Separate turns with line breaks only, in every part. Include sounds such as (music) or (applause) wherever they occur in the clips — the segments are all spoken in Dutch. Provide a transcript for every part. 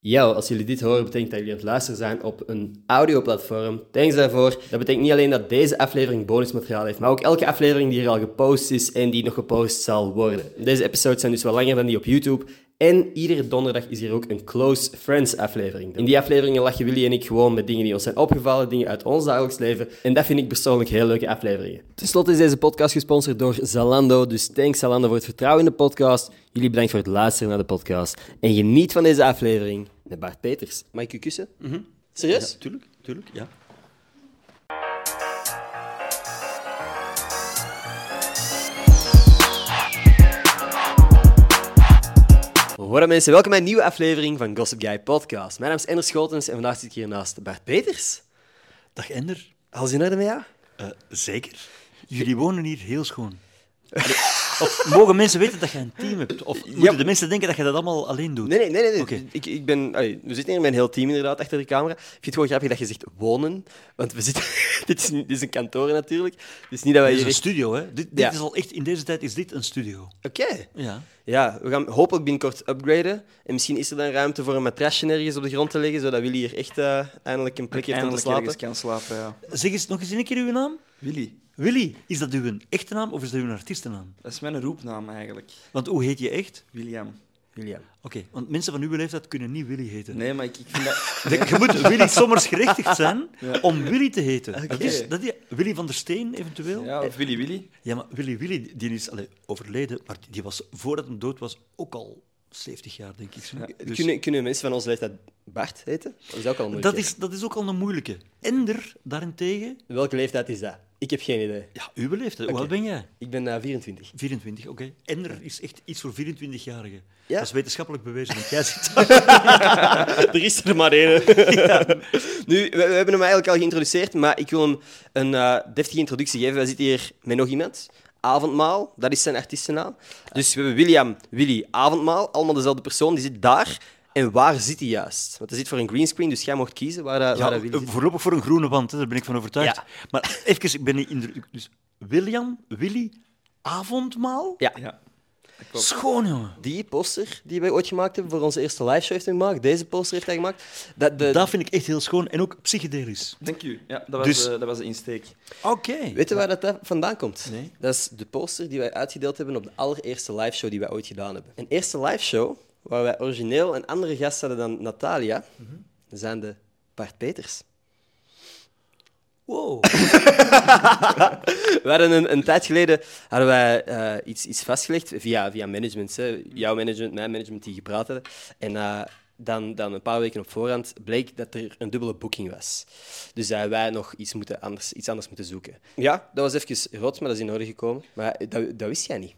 Yo, als jullie dit horen, betekent dat jullie aan het luisteren zijn op een audioplatform. Thanks daarvoor. Dat betekent niet alleen dat deze aflevering bonusmateriaal heeft, maar ook elke aflevering die hier al gepost is en die nog gepost zal worden. Deze episodes zijn dus wel langer dan die op YouTube. En iedere donderdag is hier ook een Close Friends aflevering. In die afleveringen lachen Willy en ik gewoon met dingen die ons zijn opgevallen, dingen uit ons dagelijks leven. En dat vind ik persoonlijk heel leuke afleveringen. Ten slotte is deze podcast gesponsord door Zalando. Dus thanks Zalando voor het vertrouwen in de podcast. Jullie bedankt voor het luisteren naar de podcast. En geniet van deze aflevering met Bart Peters. Mag ik u kussen? Serieus?
Tuurlijk, tuurlijk, ja.
Hoi mensen, welkom bij een nieuwe aflevering van Gossip Guy Podcast. Mijn naam is Ender Schotens en vandaag zit ik hier naast Bart Peters.
Dag Ender.
Al zin er met jou?
Eh, zeker. Jullie wonen hier heel schoon. Allee, Of mogen mensen weten dat je een team hebt? Of moeten
Ja.
de mensen denken dat je dat allemaal alleen doet?
Nee, nee, nee. nee, nee.
Oké.
Ik, ik ben, allee, we zitten hier met een heel team inderdaad achter de camera. Ik vind het gewoon grappig dat je zegt wonen, want we zitten... (laughs) dit, is, een- dit is een kantoor natuurlijk. Dus niet dat wij
Dit is
hier...
een
echt-
studio, hè? Dit, dit
Ja.
is al echt, in deze tijd is dit een studio.
Oké.
Ja.
Ja, we gaan hopelijk binnenkort upgraden. En misschien is er dan ruimte voor een matrasje ergens op de grond te leggen, zodat Willy hier echt eh, eindelijk een plek heeft om te
Eindelijk
slapen.
dus ergens kan slapen, ja.
Zeg eens nog eens een keer uw naam.
Willy,
Willy, is dat uw echte naam of is dat uw artiestennaam?
dat is mijn roepnaam eigenlijk.
Want hoe heet je echt?
William.
William.
Oké, want mensen van uw leeftijd kunnen niet Willy heten.
Nee, maar ik, ik vind dat...
Je- Je moet Willy sommers gerechtigd zijn om Willy te heten. Dat is,
Oké.
dat is, Willy van der Steen eventueel.
Ja, of Willy Willy.
(laughs) Ja, maar Willy Willy, die is allee, overleden, maar die was voordat hij dood was ook al 70 jaar, denk ik. zo. Dus
Kunnen, kunnen mensen van ons leeftijd Bart heten? Of is dat ook al moeilijk?
dat, is, dat is ook al een moeilijke. Ender, daarentegen,
Welke leeftijd is dat? Ik heb geen idee.
ja, uw leeftijd. Hoe
Oké.
oud ben jij?
Ik ben eh, 24.
24, oké. Ender is echt iets voor 24-jarigen.
Ja.
Dat is wetenschappelijk bewezen, want jij
(laughs)
zit...
er is er maar één. (laughs) Nu, we, we hebben hem eigenlijk al geïntroduceerd, maar ik wil hem een eh, deftige introductie geven. Wij zitten hier met nog iemand. Avondmaal, dat is zijn artiestennaam. Dus we hebben William, Willy, Avondmaal. Allemaal dezelfde persoon, die zit daar. En waar zit hij juist? Want hij zit voor een greenscreen, dus jij mocht kiezen waar, dat- waar
Ja,
dat Willy zit.
voorlopig voor een groene wand, hè, daar ben ik van overtuigd.
Ja.
Maar even, ik ben niet in de... Dus William, Willy, avondmaal?
Ja.
Ja. Dat klopt.
Schoon, jongen.
Die poster die wij ooit gemaakt hebben voor onze eerste liveshow heeft hij gemaakt. Deze poster heeft hij gemaakt. Dat, de,
Dat vind ik echt heel schoon en ook psychedelisch.
Dank u. Ja, dat was,
Dus-
eh, dat was de insteek.
Oké.
Weet je waar dat dat vandaan komt?
Nee.
Dat is de poster die wij uitgedeeld hebben op de allereerste liveshow die wij ooit gedaan hebben. Een eerste liveshow waar wij origineel een andere gast hadden dan Natalia, zijn de Bart Peters. (laughs)
Wow.
We hadden een, een tijd geleden hadden wij, eh, iets, iets vastgelegd via, via management. Hè. Jouw management, mijn management, die gepraat hadden. En eh, dan, dan een paar weken op voorhand bleek dat er een dubbele boeking was. Dus dat wij nog iets, moeten anders, iets anders moeten zoeken. Ja, dat was even rot, maar dat is in orde gekomen. Maar dat, dat wist jij niet.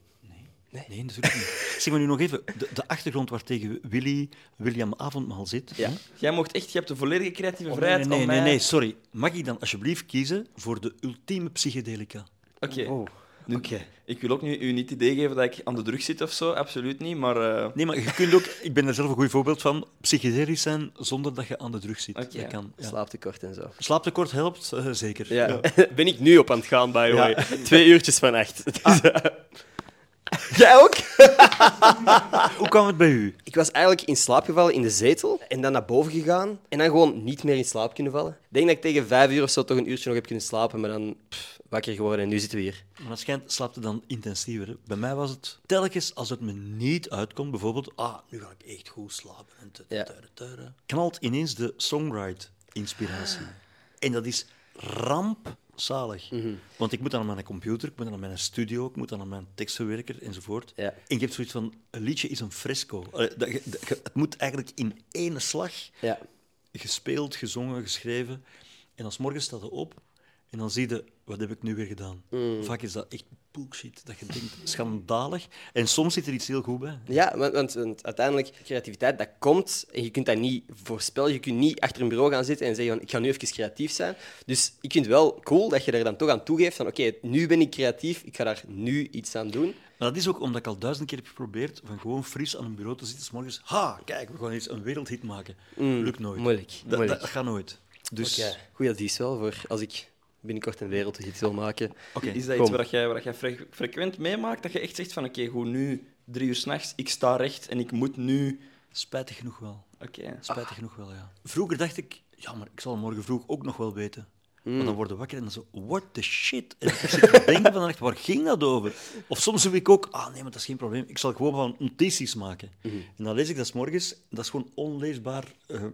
Nee, natuurlijk niet. (laughs) Zeg maar nu nog even, de, de achtergrond waar tegen Willy, William Avondmaal zit.
Ja.
hè?
Jij mocht echt... Je hebt de volledige creatieve
Oh, nee,
vrijheid
nee, nee,
om mij...
nee, nee, sorry. Mag ik dan alsjeblieft kiezen voor de ultieme psychedelica?
Oké.
Oh, Oké.
Ik wil ook nu u niet het idee geven dat ik aan de druk zit of zo. Absoluut niet, maar... eh,
Nee, maar je kunt ook, ik ben er zelf een goed voorbeeld van, psychedelisch zijn zonder dat je aan de drug zit.
Oké.
Dat kan. ja.
Slaaptekort en zo.
Slaaptekort helpt, eh, zeker.
Ja. (laughs) Ben ik nu op aan het gaan, by the way. Twee uurtjes van acht. Dus, eh, (laughs) Jij ook?
Hoe kwam het bij u?
Ik was eigenlijk in slaap gevallen in de zetel en dan naar boven gegaan en dan gewoon niet meer in slaap kunnen vallen. Ik denk dat ik tegen vijf uur of zo toch een uurtje nog heb kunnen slapen, maar dan pff, wakker geworden en nu zitten we hier.
Maar dat schijnt, slaapte dan intensiever. hè. Bij mij was het telkens, als het me niet uitkomt, bijvoorbeeld, ah, nu ga ik echt goed slapen. En te,
Ja.
tuire, tuire, knalt ineens de
Ah.
songwrite-inspiratie. En dat is rampzalig.
Mhm.
Want ik moet dan aan mijn computer, ik moet dan aan mijn studio, ik moet dan aan mijn tekstverwerker enzovoort.
Ja.
En ik heb zoiets van, een liedje is een fresco. Allee, dat je- dat je- het moet eigenlijk in één slag
Ja.
gespeeld, gezongen, geschreven. En als morgen staat er op en dan zie je, wat heb ik nu weer gedaan?
Mm.
Vaak is dat echt bullshit, dat je denkt, schandalig. En soms zit er iets heel goed bij.
Ja, want, want, want uiteindelijk, creativiteit, dat komt en je kunt dat niet voorspellen. Je kunt niet achter een bureau gaan zitten en zeggen van, ik ga nu even creatief zijn. Dus ik vind het wel cool dat je er dan toch aan toegeeft van, oké, nu ben ik creatief, ik ga daar nu iets aan doen.
Maar dat is ook omdat ik al duizend keer heb geprobeerd van gewoon fris aan een bureau te zitten. 's morgens, ha, kijk, we gaan eens een wereldhit maken. Lukt nooit.
Mm. moeilijk,
Dat,
moeilijk.
dat gaat nooit. Dus,
Oké, goed advies wel voor als ik binnenkort een wereldhit wil maken.
oké.
Is dat iets
kom.
waar jij, waar jij fre- frequent meemaakt? Dat je echt zegt van, oké, goed, nu drie uur s'nachts, ik sta recht en ik moet nu
Spijtig genoeg wel.
Oké.
Spijtig genoeg wel, ja. Vroeger dacht ik, ja, maar ik zal morgen vroeg ook nog wel weten. Maar dan worden we wakker en dan zo, what the shit. En ik zit te denken van, echt, waar ging dat over? Of soms doe ik ook, ah nee, maar dat is geen probleem. Ik zal gewoon van notities maken. En dan lees ik dat 's morgens. Dat is gewoon onleesbaar eh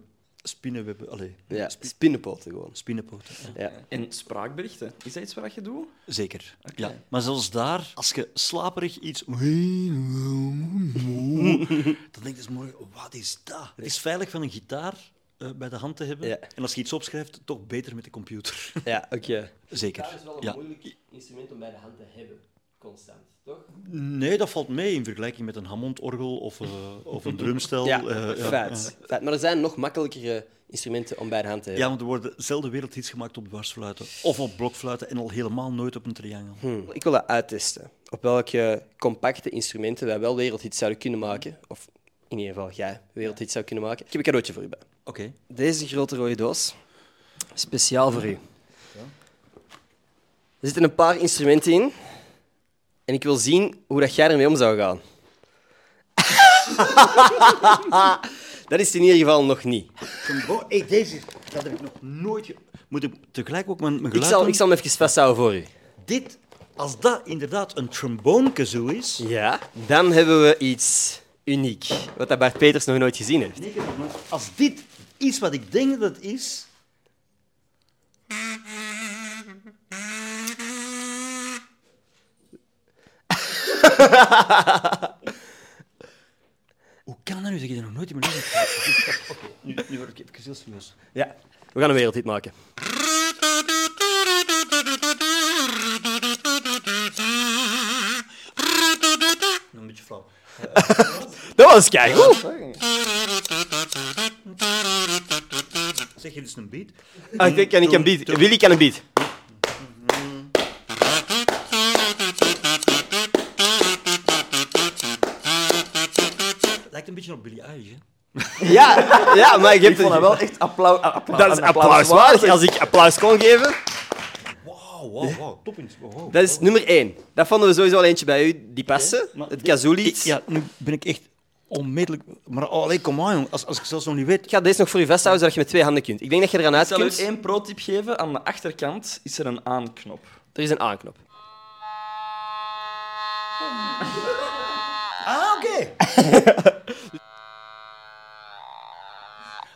spinnenwebben. Allee,
Ja, spinnenpoten gewoon.
spinnenpoten. ja.
Ja.
En spraakberichten, is dat iets wat je doet?
Zeker. Ja. Maar zelfs daar, als je slaperig iets. (laughs) dan denk je dus morgen: wat is dat? Het is veilig van een gitaar eh, bij de hand te hebben.
Ja.
En als je iets opschrijft, toch beter met de computer. (laughs)
Ja, oké.
Zeker. Ja.
moeilijk instrument om bij de hand te hebben, constant, toch?
Nee, dat valt mee in vergelijking met een Hammond-orgel of, eh, of (laughs) een drumstel.
Ja,
eh, ja.
feit. Feit. Maar er zijn nog makkelijkere instrumenten om bij de hand te hebben.
Ja, want er worden zelden wereldhits gemaakt op dwarsfluiten of op blokfluiten en al helemaal nooit op een triangel.
Hm. Ik wil dat uittesten. Op welke compacte instrumenten wij wel wereldhits zouden kunnen maken. Of in ieder geval jij wereldhits zou kunnen maken. Ik heb een cadeautje voor u bij.
Oké.
Deze grote rode doos. Speciaal voor u. Er zitten een paar instrumenten in. En ik wil zien hoe dat jij ermee om zou gaan. (laughs) dat is in ieder geval nog niet.
Oh, hey, deze dat heb ik nog nooit. ge- Moet ik tegelijk ook mijn, mijn
Ik
geluid
zal,
doen?
ik zal hem even vasthouden voor u.
Dit, als dat inderdaad een tromboonkazoo is.
Ja. Dan hebben we iets uniek. Wat dat Bart Peters nog nooit gezien heeft.
Nee, maar Als dit is wat ik denk dat het is. (laughs) Hoe kan dat nu? Dat je er nog nooit in mijn leven hebt gehoord? Oké, nu, nu word ik even heel serieus.
Ja, we gaan een wereldhit maken.
Een beetje flauw.
(laughs) Dat was keigoed.
Zeg je dus een beat?
Ah, ik kan ik een beat. Willy kan een beat.
Lijkt een beetje op Billy Eilish, hè?
Ja, ja maar ik heb
Ik vond dat
het-
wel echt applaus. applaus
Dat is applauswaardig. Als ik applaus kon geven.
Wauw, Oh, wauw, wauw. Top in. Wow.
Dat is nummer één. Dat vonden we sowieso al eentje bij u. Die passen.
maar
het
dit-
kazoolie.
Ja, nu ben ik echt onmiddellijk... Maar oh, allee, kom aan, jong. Als, als ik zelfs nog niet weet...
Ik ga deze nog voor u vasthouden, zodat je met twee handen kunt. Ik denk dat je eraan uit
Ik zal u
kunt.
één pro-tip geven. Aan de achterkant is er een aanknop.
Er is een aanknop.
Ah, oké. (laughs)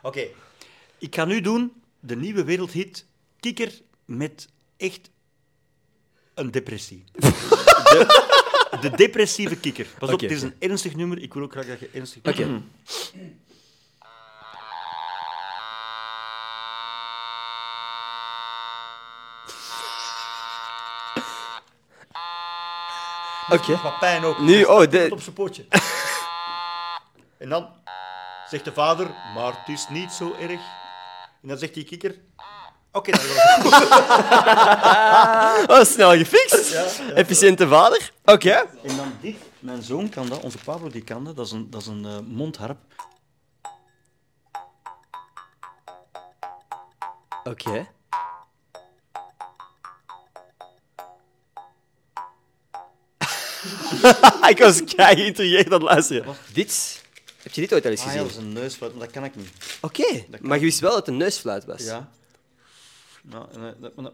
oké. Ik ga nu doen de nieuwe wereldhit Kikker met echt een depressie. De, de depressieve kikker. Pas op,
Oké.
het is een ernstig nummer. Ik wil ook graag dat je ernstig...
Oké. Oké.
Wat pijn ook.
Nu, oh, de-
Tot op zijn pootje. en dan zegt de vader, maar het is niet zo erg. En dan zegt die kikker, oké, dan gaan we-
Oh, snel gefixt. Efficiënte vader. Oké.
En dan dit. Mijn zoon kan dat, onze Pablo die kan dat, dat is een, dat is een eh, mondharp.
Oké. (laughs) ik was kei geïntrigeerd aan het luisteren. Dit? Heb je dit ooit al eens
Ah ja,
gezien?
dat is een neusfluit, maar dat kan ik niet.
Oké, maar je wist wel dat het een neusfluit was.
Ja, en, eh, dat, maar dat,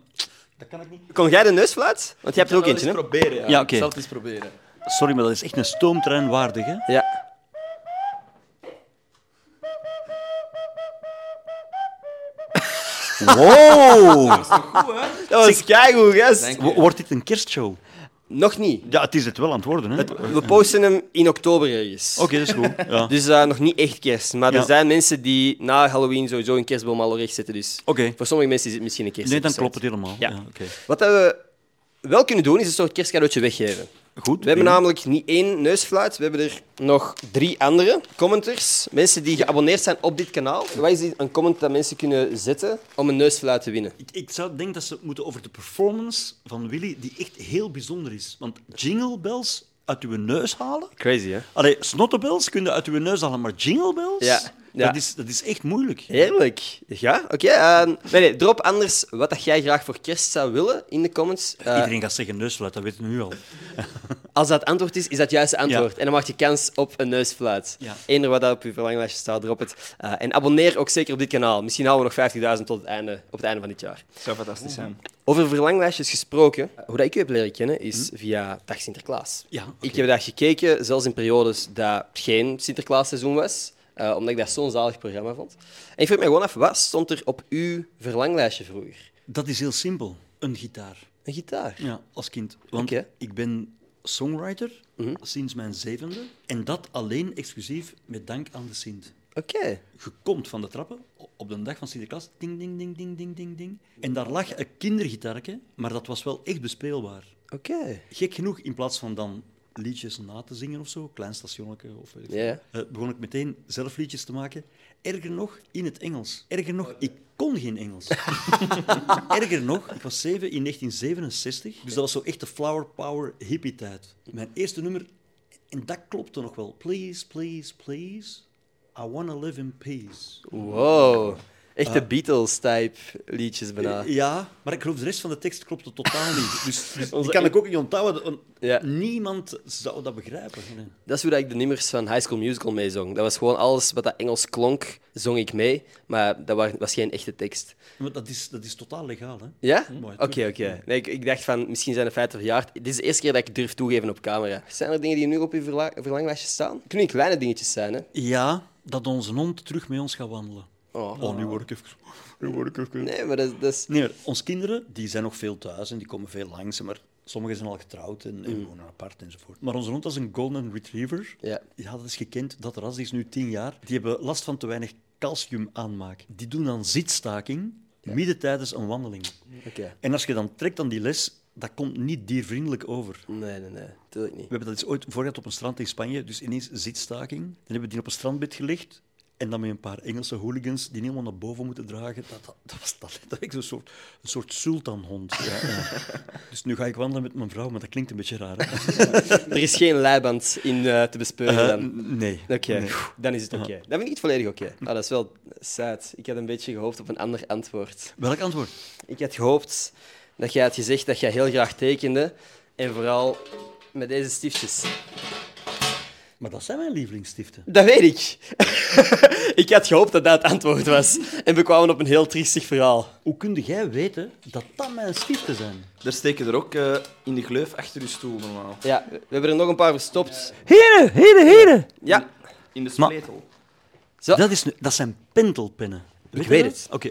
dat kan ik niet.
Kon jij de neusfluit? Want je hebt er ook eentje, hè?
proberen. Ja,
Ja, oké.
Ik zal het eens proberen.
Sorry, maar dat is echt een stoomtrein waardig, hè?
Ja.
(laughs) Wow!
Dat was keigoed, gast.
Dank
Wo- Wordt dit een kerstshow?
Nog niet.
Ja, het is het wel aan het worden, hè? Oké,
We posten hem in oktober ergens.
dat is goed. Ja. (laughs) Oké.
Dus eh, nog niet echt kerst. Maar er
Ja.
zijn mensen die na Halloween sowieso een kerstboom al recht zetten. Dus voor sommige mensen is het misschien een kerst.
Nee, dan klopt het helemaal.
Ja.
Ja. oké.
Wat dat we wel kunnen doen, is een soort kerstcadeautje weggeven.
Goed.
We hebben namelijk niet één neusfluit, we hebben er nog drie andere commenters. Mensen die geabonneerd zijn op dit kanaal. Wat is dit- een comment dat mensen kunnen zetten om een neusfluit te winnen?
Ik, ik zou denken dat ze moeten over de performance van Willy, die echt heel bijzonder is. Want jingle bells uit uw neus halen...
Crazy, hè?
Allee, snottebels kun je uit uw neus halen, maar jinglebells?
Ja. Ja.
Dat, is, dat is echt moeilijk.
Heerlijk. Ja, oké. ehm, nee, nee, drop anders wat dat jij graag voor kerst zou willen in de comments. Eh,
Iedereen gaat zeggen neusfluit, dat weten we nu al.
als dat het antwoord is, is dat het juiste antwoord.
Ja.
En dan maak je kans op een neusfluit.
Ja.
Eender wat dat op je verlanglijstje staat, drop het. Eh, en abonneer ook zeker op dit kanaal. Misschien houden we nog 50.000 tot het einde, op het einde van dit jaar.
zou fantastisch zijn.
Over verlanglijstjes gesproken, eh, hoe dat ik u heb leren kennen is via Dag Sinterklaas.
Hm? Ja, oké.
Ik heb daar gekeken, zelfs in periodes dat geen Sinterklaasseizoen was, eh, omdat ik dat zo'n zalig programma vond. En ik vroeg me gewoon af, wat stond er op uw verlanglijstje vroeger?
Dat is heel simpel. Een gitaar.
Een gitaar.
Ja, als kind. Want
Oké. Mhm.
ik ben songwriter sinds mijn zevende. En dat alleen exclusief met dank aan de Sint.
Oké.
Je komt van de trappen op de dag van Sinterklaas. Ding, ding, ding, ding, ding, ding, ding. En daar lag een kindergitaarke, maar dat was wel echt bespeelbaar.
Oké.
Gek genoeg, in plaats van dan liedjes na te zingen of zo, klein stationnetje of weet ik veel,
Ja.
eh, begon ik meteen zelf liedjes te maken. Erger nog, in het Engels. Erger nog, ik kon geen Engels. (laughs) Erger nog, ik was zeven in 1967, dus dat was zo echt de flower power hippie tijd. Mijn eerste nummer, en dat klopte nog wel. Please, please, please, I wanna live in peace.
Wow. Echte Beatles-type liedjes bijna.
Ja, maar Ah. Eh, ik geloof de rest van de tekst klopte totaal niet. Dus, dus
(laughs)
die
Onze
kan ik ook niet onthouden. want
Ja.
Niemand zou dat begrijpen.
Dat is hoe dat ik de nummers van High School Musical meezong. Dat was gewoon alles wat dat Engels klonk, zong ik mee. Maar dat wa- was geen echte tekst.
Maar dat is, dat is totaal legaal, hè?
Ja?
Mooi, Hm.
Oké, oké. Nee, ik, ik dacht van, misschien zijn de feiten verjaard. Dit is de eerste keer dat ik durf toegeven op camera. Zijn er dingen die nu op je verla- verlanglijstje staan? Het kunnen niet kleine dingetjes zijn, hè?
Ja, dat onze hond terug met ons gaat wandelen.
Oh.
nu word ik even... Nu word ik even... Nee,
Nee, maar dat, is- dat is...
maar onze kinderen, die zijn nog veel thuis en die komen veel langs. Maar sommigen zijn al getrouwd en, en wonen apart enzovoort. Maar onze hond is een golden retriever.
Ja.
Mm. Ja, dat is gekend. Dat ras die is nu tien jaar. Die hebben last van te weinig calcium aanmaak. Die doen dan zitstaking midden tijdens een wandeling.
Oké.
En als je dan trekt aan die les, dat komt niet diervriendelijk over.
Nee, nee, nee. Tuurlijk niet.
We hebben dat eens ooit voorgehad op een strand in Spanje, dus ineens zitstaking. Dan hebben we die op een strandbed gelegd. En dan met een paar Engelse hooligans die helemaal naar boven moeten dragen. Dat, dat, dat was dat, dat was een soort, een soort sultanhond. Ja, ja. (laughs) Dus nu ga ik wandelen met mijn vrouw, maar dat klinkt een beetje raar. (laughs) hè?
Er is geen leiband in eh, te bespeuren
Eh,
dan.
n- nee.
Oké, dan is het oké. Dan vind ik het volledig oké. Ah, dat is wel sad. Ik had een beetje gehoopt op een ander antwoord.
Welk antwoord?
Ik had gehoopt dat jij had gezegd dat jij heel graag tekende. En vooral met deze stiftjes.
Maar dat zijn mijn lievelingsstiften.
Dat weet ik. (laughs) ik had gehoopt dat dat het antwoord was. En we kwamen op een heel triestig verhaal.
Hoe kun jij weten dat dat mijn stiften zijn?
Daar steken er ook eh, in de gleuf achter je stoel normaal.
Ja, we hebben er nog een paar verstopt.
Heren, heren, heren!
Ja,
In de
Maar-
spletel.
Dat, is, nu- dat zijn pentelpennen. Weet je
weet
dat?
het.
Oké.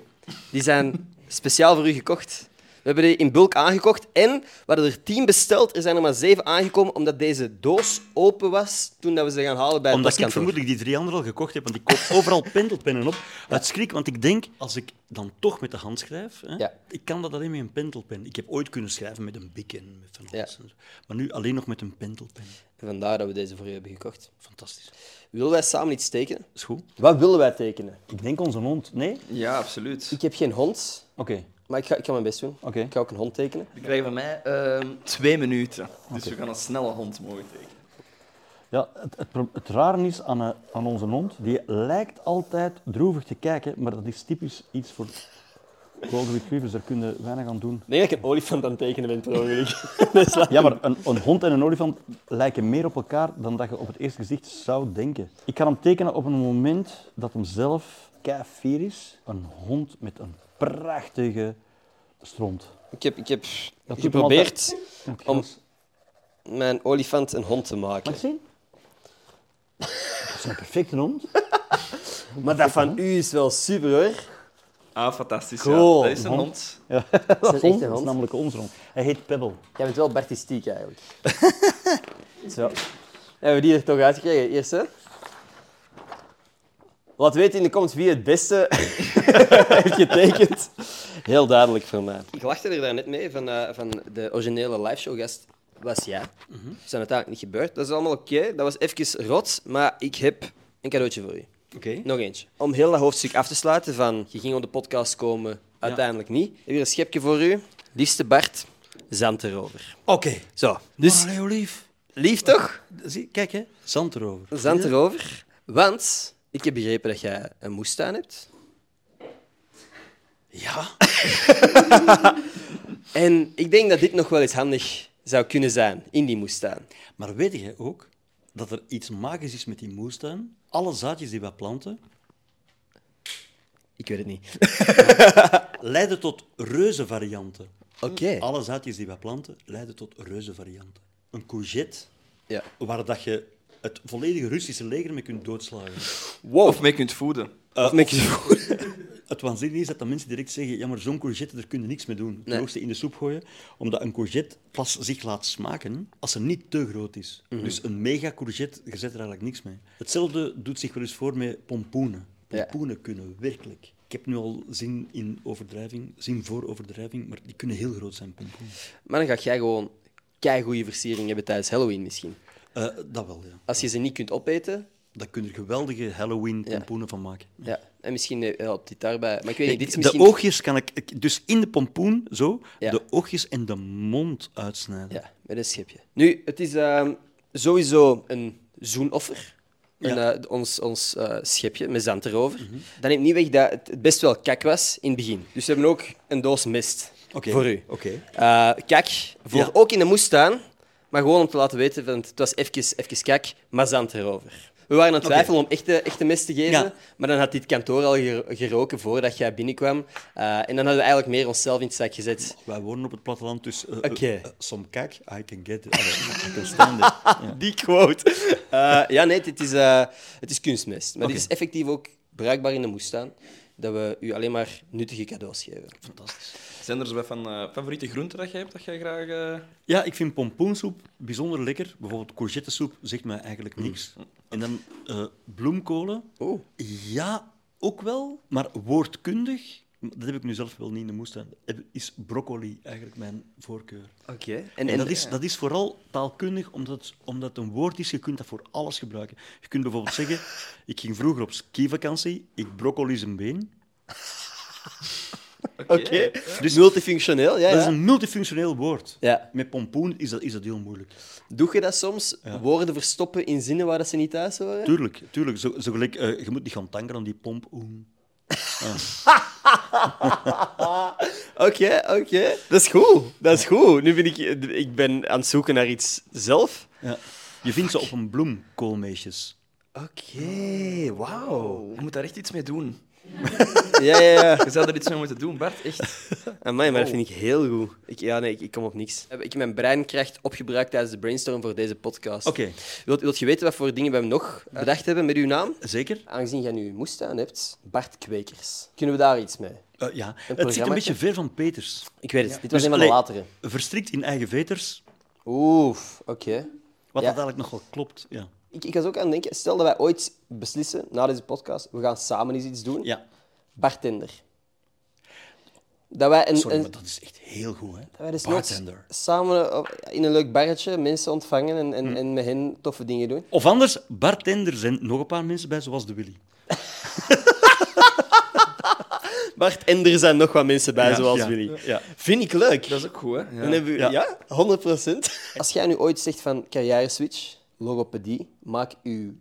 die zijn speciaal voor u gekocht. We hebben die in bulk aangekocht en we hadden er tien besteld. Er zijn er maar zeven aangekomen omdat deze doos open was toen dat we ze gaan halen bij het
Omdat Eh, ik
postkantoor.
vermoedelijk die drie anderen al gekocht heb, want ik koop overal (laughs) pendelpennen op. Uit schrik, want ik denk, als ik dan toch met de hand schrijf, hè,
Ja.
ik kan dat alleen met een pendelpen. Ik heb ooit kunnen schrijven met een bik en met van alles.
Ja.
en zo. Maar nu alleen nog met een pendelpen.
Vandaar dat we deze voor u hebben gekocht.
Fantastisch. Dat
Willen wij samen iets tekenen?
is goed.
Wat willen wij tekenen?
Ik denk onze hond. Nee? Oké.
Ja, absoluut.
Ik heb geen hond, maar ik ga, ik ga mijn best doen.
Oké.
Ik ga ook een hond tekenen.
We krijgen van mij ehm, twee minuten. Dus we gaan een snelle hond mogen tekenen.
Ja, het, het, pro- het rare is aan, eh, aan onze hond, die lijkt altijd droevig te kijken, maar dat is typisch iets voor golden retrievers. Daar kun je weinig aan doen.
Ik denk dat ik een olifant aan het tekenen ben, per ongeluk.
Ja, maar een, een hond en een olifant lijken meer op elkaar dan dat je op het eerste gezicht zou denken. Ik kan hem tekenen op een moment dat hem zelf keifier is. Een hond met een prachtige stront.
Ik heb, ik heb
Dat doet me
geprobeerd
altijd-
om mijn olifant een hond te
Mag
maken.
ik zien? Dat is een perfecte hond.
(laughs) Maar dat van u is wel super hoor.
Ah, fantastisch.
Cool.
Ja. Dat is een
Een
hond.
Dat
een
hond
echte
is
hond.
namelijk onze hond. Hij heet Pebble.
Jij bent wel Bartistiek eigenlijk. (laughs) Zo. Hebben we die er toch uitgekregen, eerst hè? Laat weten in de comments wie het beste (laughs) heeft getekend. Heel duidelijk voor mij. Ik lachte er daarnet mee van, eh, van de originele liveshowgast. Was jij. Dat is dan uiteindelijk niet gebeurd. Dat is allemaal oké. Dat was even rot. Maar ik heb een cadeautje voor u.
Oké.
Nog eentje. Om heel dat hoofdstuk af te sluiten van je ging op de podcast komen, uiteindelijk niet. Ik heb hier een schepje voor u. Liefste Bart, zand erover.
Oké.
Zo,
Dus...
dus
Maar Leo, lief.
lief toch?
Zie, kijk, hè. Zand erover.
Zand erover. Want Ik heb begrepen dat jij een moestuin hebt.
Ja.
En ik denk dat dit nog wel eens handig zou kunnen zijn in die moestuin.
Maar weet jij ook dat er iets magisch is met die moestuin? Alle zaadjes die wij planten
Ik weet het niet.
leiden tot reuze varianten.
Oké.
Alle zaadjes die wij planten leiden tot reuze varianten. Een courgette
Ja.
waar dat je het volledige Russische leger mee kunt doodslagen.
Wow.
Of mee kunt voeden.
Of met je-
Het waanzinnige is dat de mensen direct zeggen, ja, maar zo'n courgette, daar kun je niks mee doen. Het
Nee.
hoogste in de soep gooien, omdat een courgette pas zich laat smaken als ze niet te groot is.
Mhm.
Dus een mega courgette, je zet er eigenlijk niks mee. Hetzelfde doet zich wel eens voor met pompoenen.
Ja.
Pompoenen kunnen werkelijk. Ik heb nu al zin in overdrijving, zin voor overdrijving, maar die kunnen heel groot zijn, pompoenen.
Maar dan ga jij gewoon goede versiering hebben tijdens Halloween misschien.
Eh, dat wel, ja.
Als je ze niet kunt opeten,
Daar kun je geweldige Halloween-pompoenen van maken.
ja. En misschien eh, helpt dit daarbij. Maar ik weet niet, dit is
Ik-
misschien...
De oogjes kan ik- ik... Dus in de pompoen, zo,
Ja.
de oogjes en de mond uitsnijden.
Ja, met een schipje. Nu, het is ehm, sowieso een zoenoffer. Een,
Ja. Mhm.
eh, ons ons eh, schipje met zand erover. Dan neemt niet weg dat het het best wel kak was in het begin. Dus we hebben ook een doos mist
Oké.
voor u.
Oké.
Eh, kak, voor
Ja.
ook in de moestuin, maar gewoon om te laten weten, want het was even, even kak, maar zand erover. We waren aan het
Oké.
twijfelen om echte, echte mest te geven,
Ja.
maar dan had dit kantoor al ger- geroken voordat jij binnenkwam. Eh, en dan hadden we eigenlijk meer onszelf in het zak gezet.
Wij wonen op het platteland, dus eh,
Oké.
eh, eh, some kijk, I can get it. Allee, I can stand it. Ja.
(laughs) Die quote. Eh, ja, nee, het is, eh, het is kunstmest. Maar dit
Oké.
is effectief ook bruikbaar in de moestuin, dat we u alleen maar nuttige cadeaus geven.
Fantastisch.
Zijn er zo wat van eh, favoriete groenten dat jij hebt dat jij graag... eh,
Ja, ik vind pompoensoep bijzonder lekker. Bijvoorbeeld courgettesoep zegt mij eigenlijk niks. En dan eh, bloemkolen.
Oeh.
Ja, ook wel, maar woordkundig. Dat heb ik nu zelf wel niet in de moestuin. heb- Is broccoli eigenlijk mijn voorkeur?
Oké.
En, dat, is, dat is vooral taalkundig, omdat, omdat het een woord is, je kunt dat voor alles gebruiken. Je kunt bijvoorbeeld zeggen, ik ging vroeger op skivakantie, ik broccoli zijn been.
(laughs)
Oké.
Oké. Dus multifunctioneel, ja.
Dat is
ja.
een multifunctioneel woord.
Ja.
Met pompoen is dat, is dat heel moeilijk.
Doe je dat soms? Woorden verstoppen in zinnen waar dat ze niet thuis horen?
Tuurlijk, tuurlijk. Zo, zo gelijk, eh, je moet niet gaan tankeren aan die pompoen.
Oké, oké. Dat is goed. Dat is goed. Nu ben ik, ik ben aan het zoeken naar iets zelf.
Ja. Je vindt ze op een bloem, koolmeisjes.
Oké, wauw.
Oh, Je moet daar echt iets mee doen.
Ja, ja, ja.
Je zou er iets mee moeten doen, Bart. Echt.
Amai, maar dat vind ik heel goed. Ik, ja, nee, ik, ik kom op niks. Ik Oh. heb mijn breinkracht opgebruikt tijdens de brainstorm voor deze podcast.
Oké.
Wilt, wilt je weten wat voor dingen we hem nog bedacht hebben met uw naam?
Zeker?
Aangezien jij nu een moestuin hebt, Bart Kwekers. Kunnen we daar iets mee?
Eh, ja. Het zit een
programmaatje?
beetje ver van Peters.
Ik weet het. Dit was
Dus,
een van de
allee,
latere.
Verstrikt in eigen veters,
Oef, oké.
wat
Ja.
dat eigenlijk nog wel klopt. Ja.
Ik, ik was ook aan het denken, stel dat wij ooit beslissen, na deze podcast, we gaan samen eens iets doen.
ja.
Bartender. Dat wij een,
Sorry,
een-
maar dat is echt heel goed, hè?
dat wij dus
Bartender.
nooit samen op- in een leuk barretje mensen ontvangen en, en, en met hen toffe dingen doen.
Of anders, bartender zijn nog een paar mensen bij, zoals de Willy.
Bart en er zijn nog wat mensen bij,
Ja,
zoals
ja,
Willy.
ja.
Vind ik leuk.
Dat is ook goed, hè?
Dan hebben we,
Ja.
ja. 100 Als jij nu ooit zegt van carrière switch, logopedie, maak uw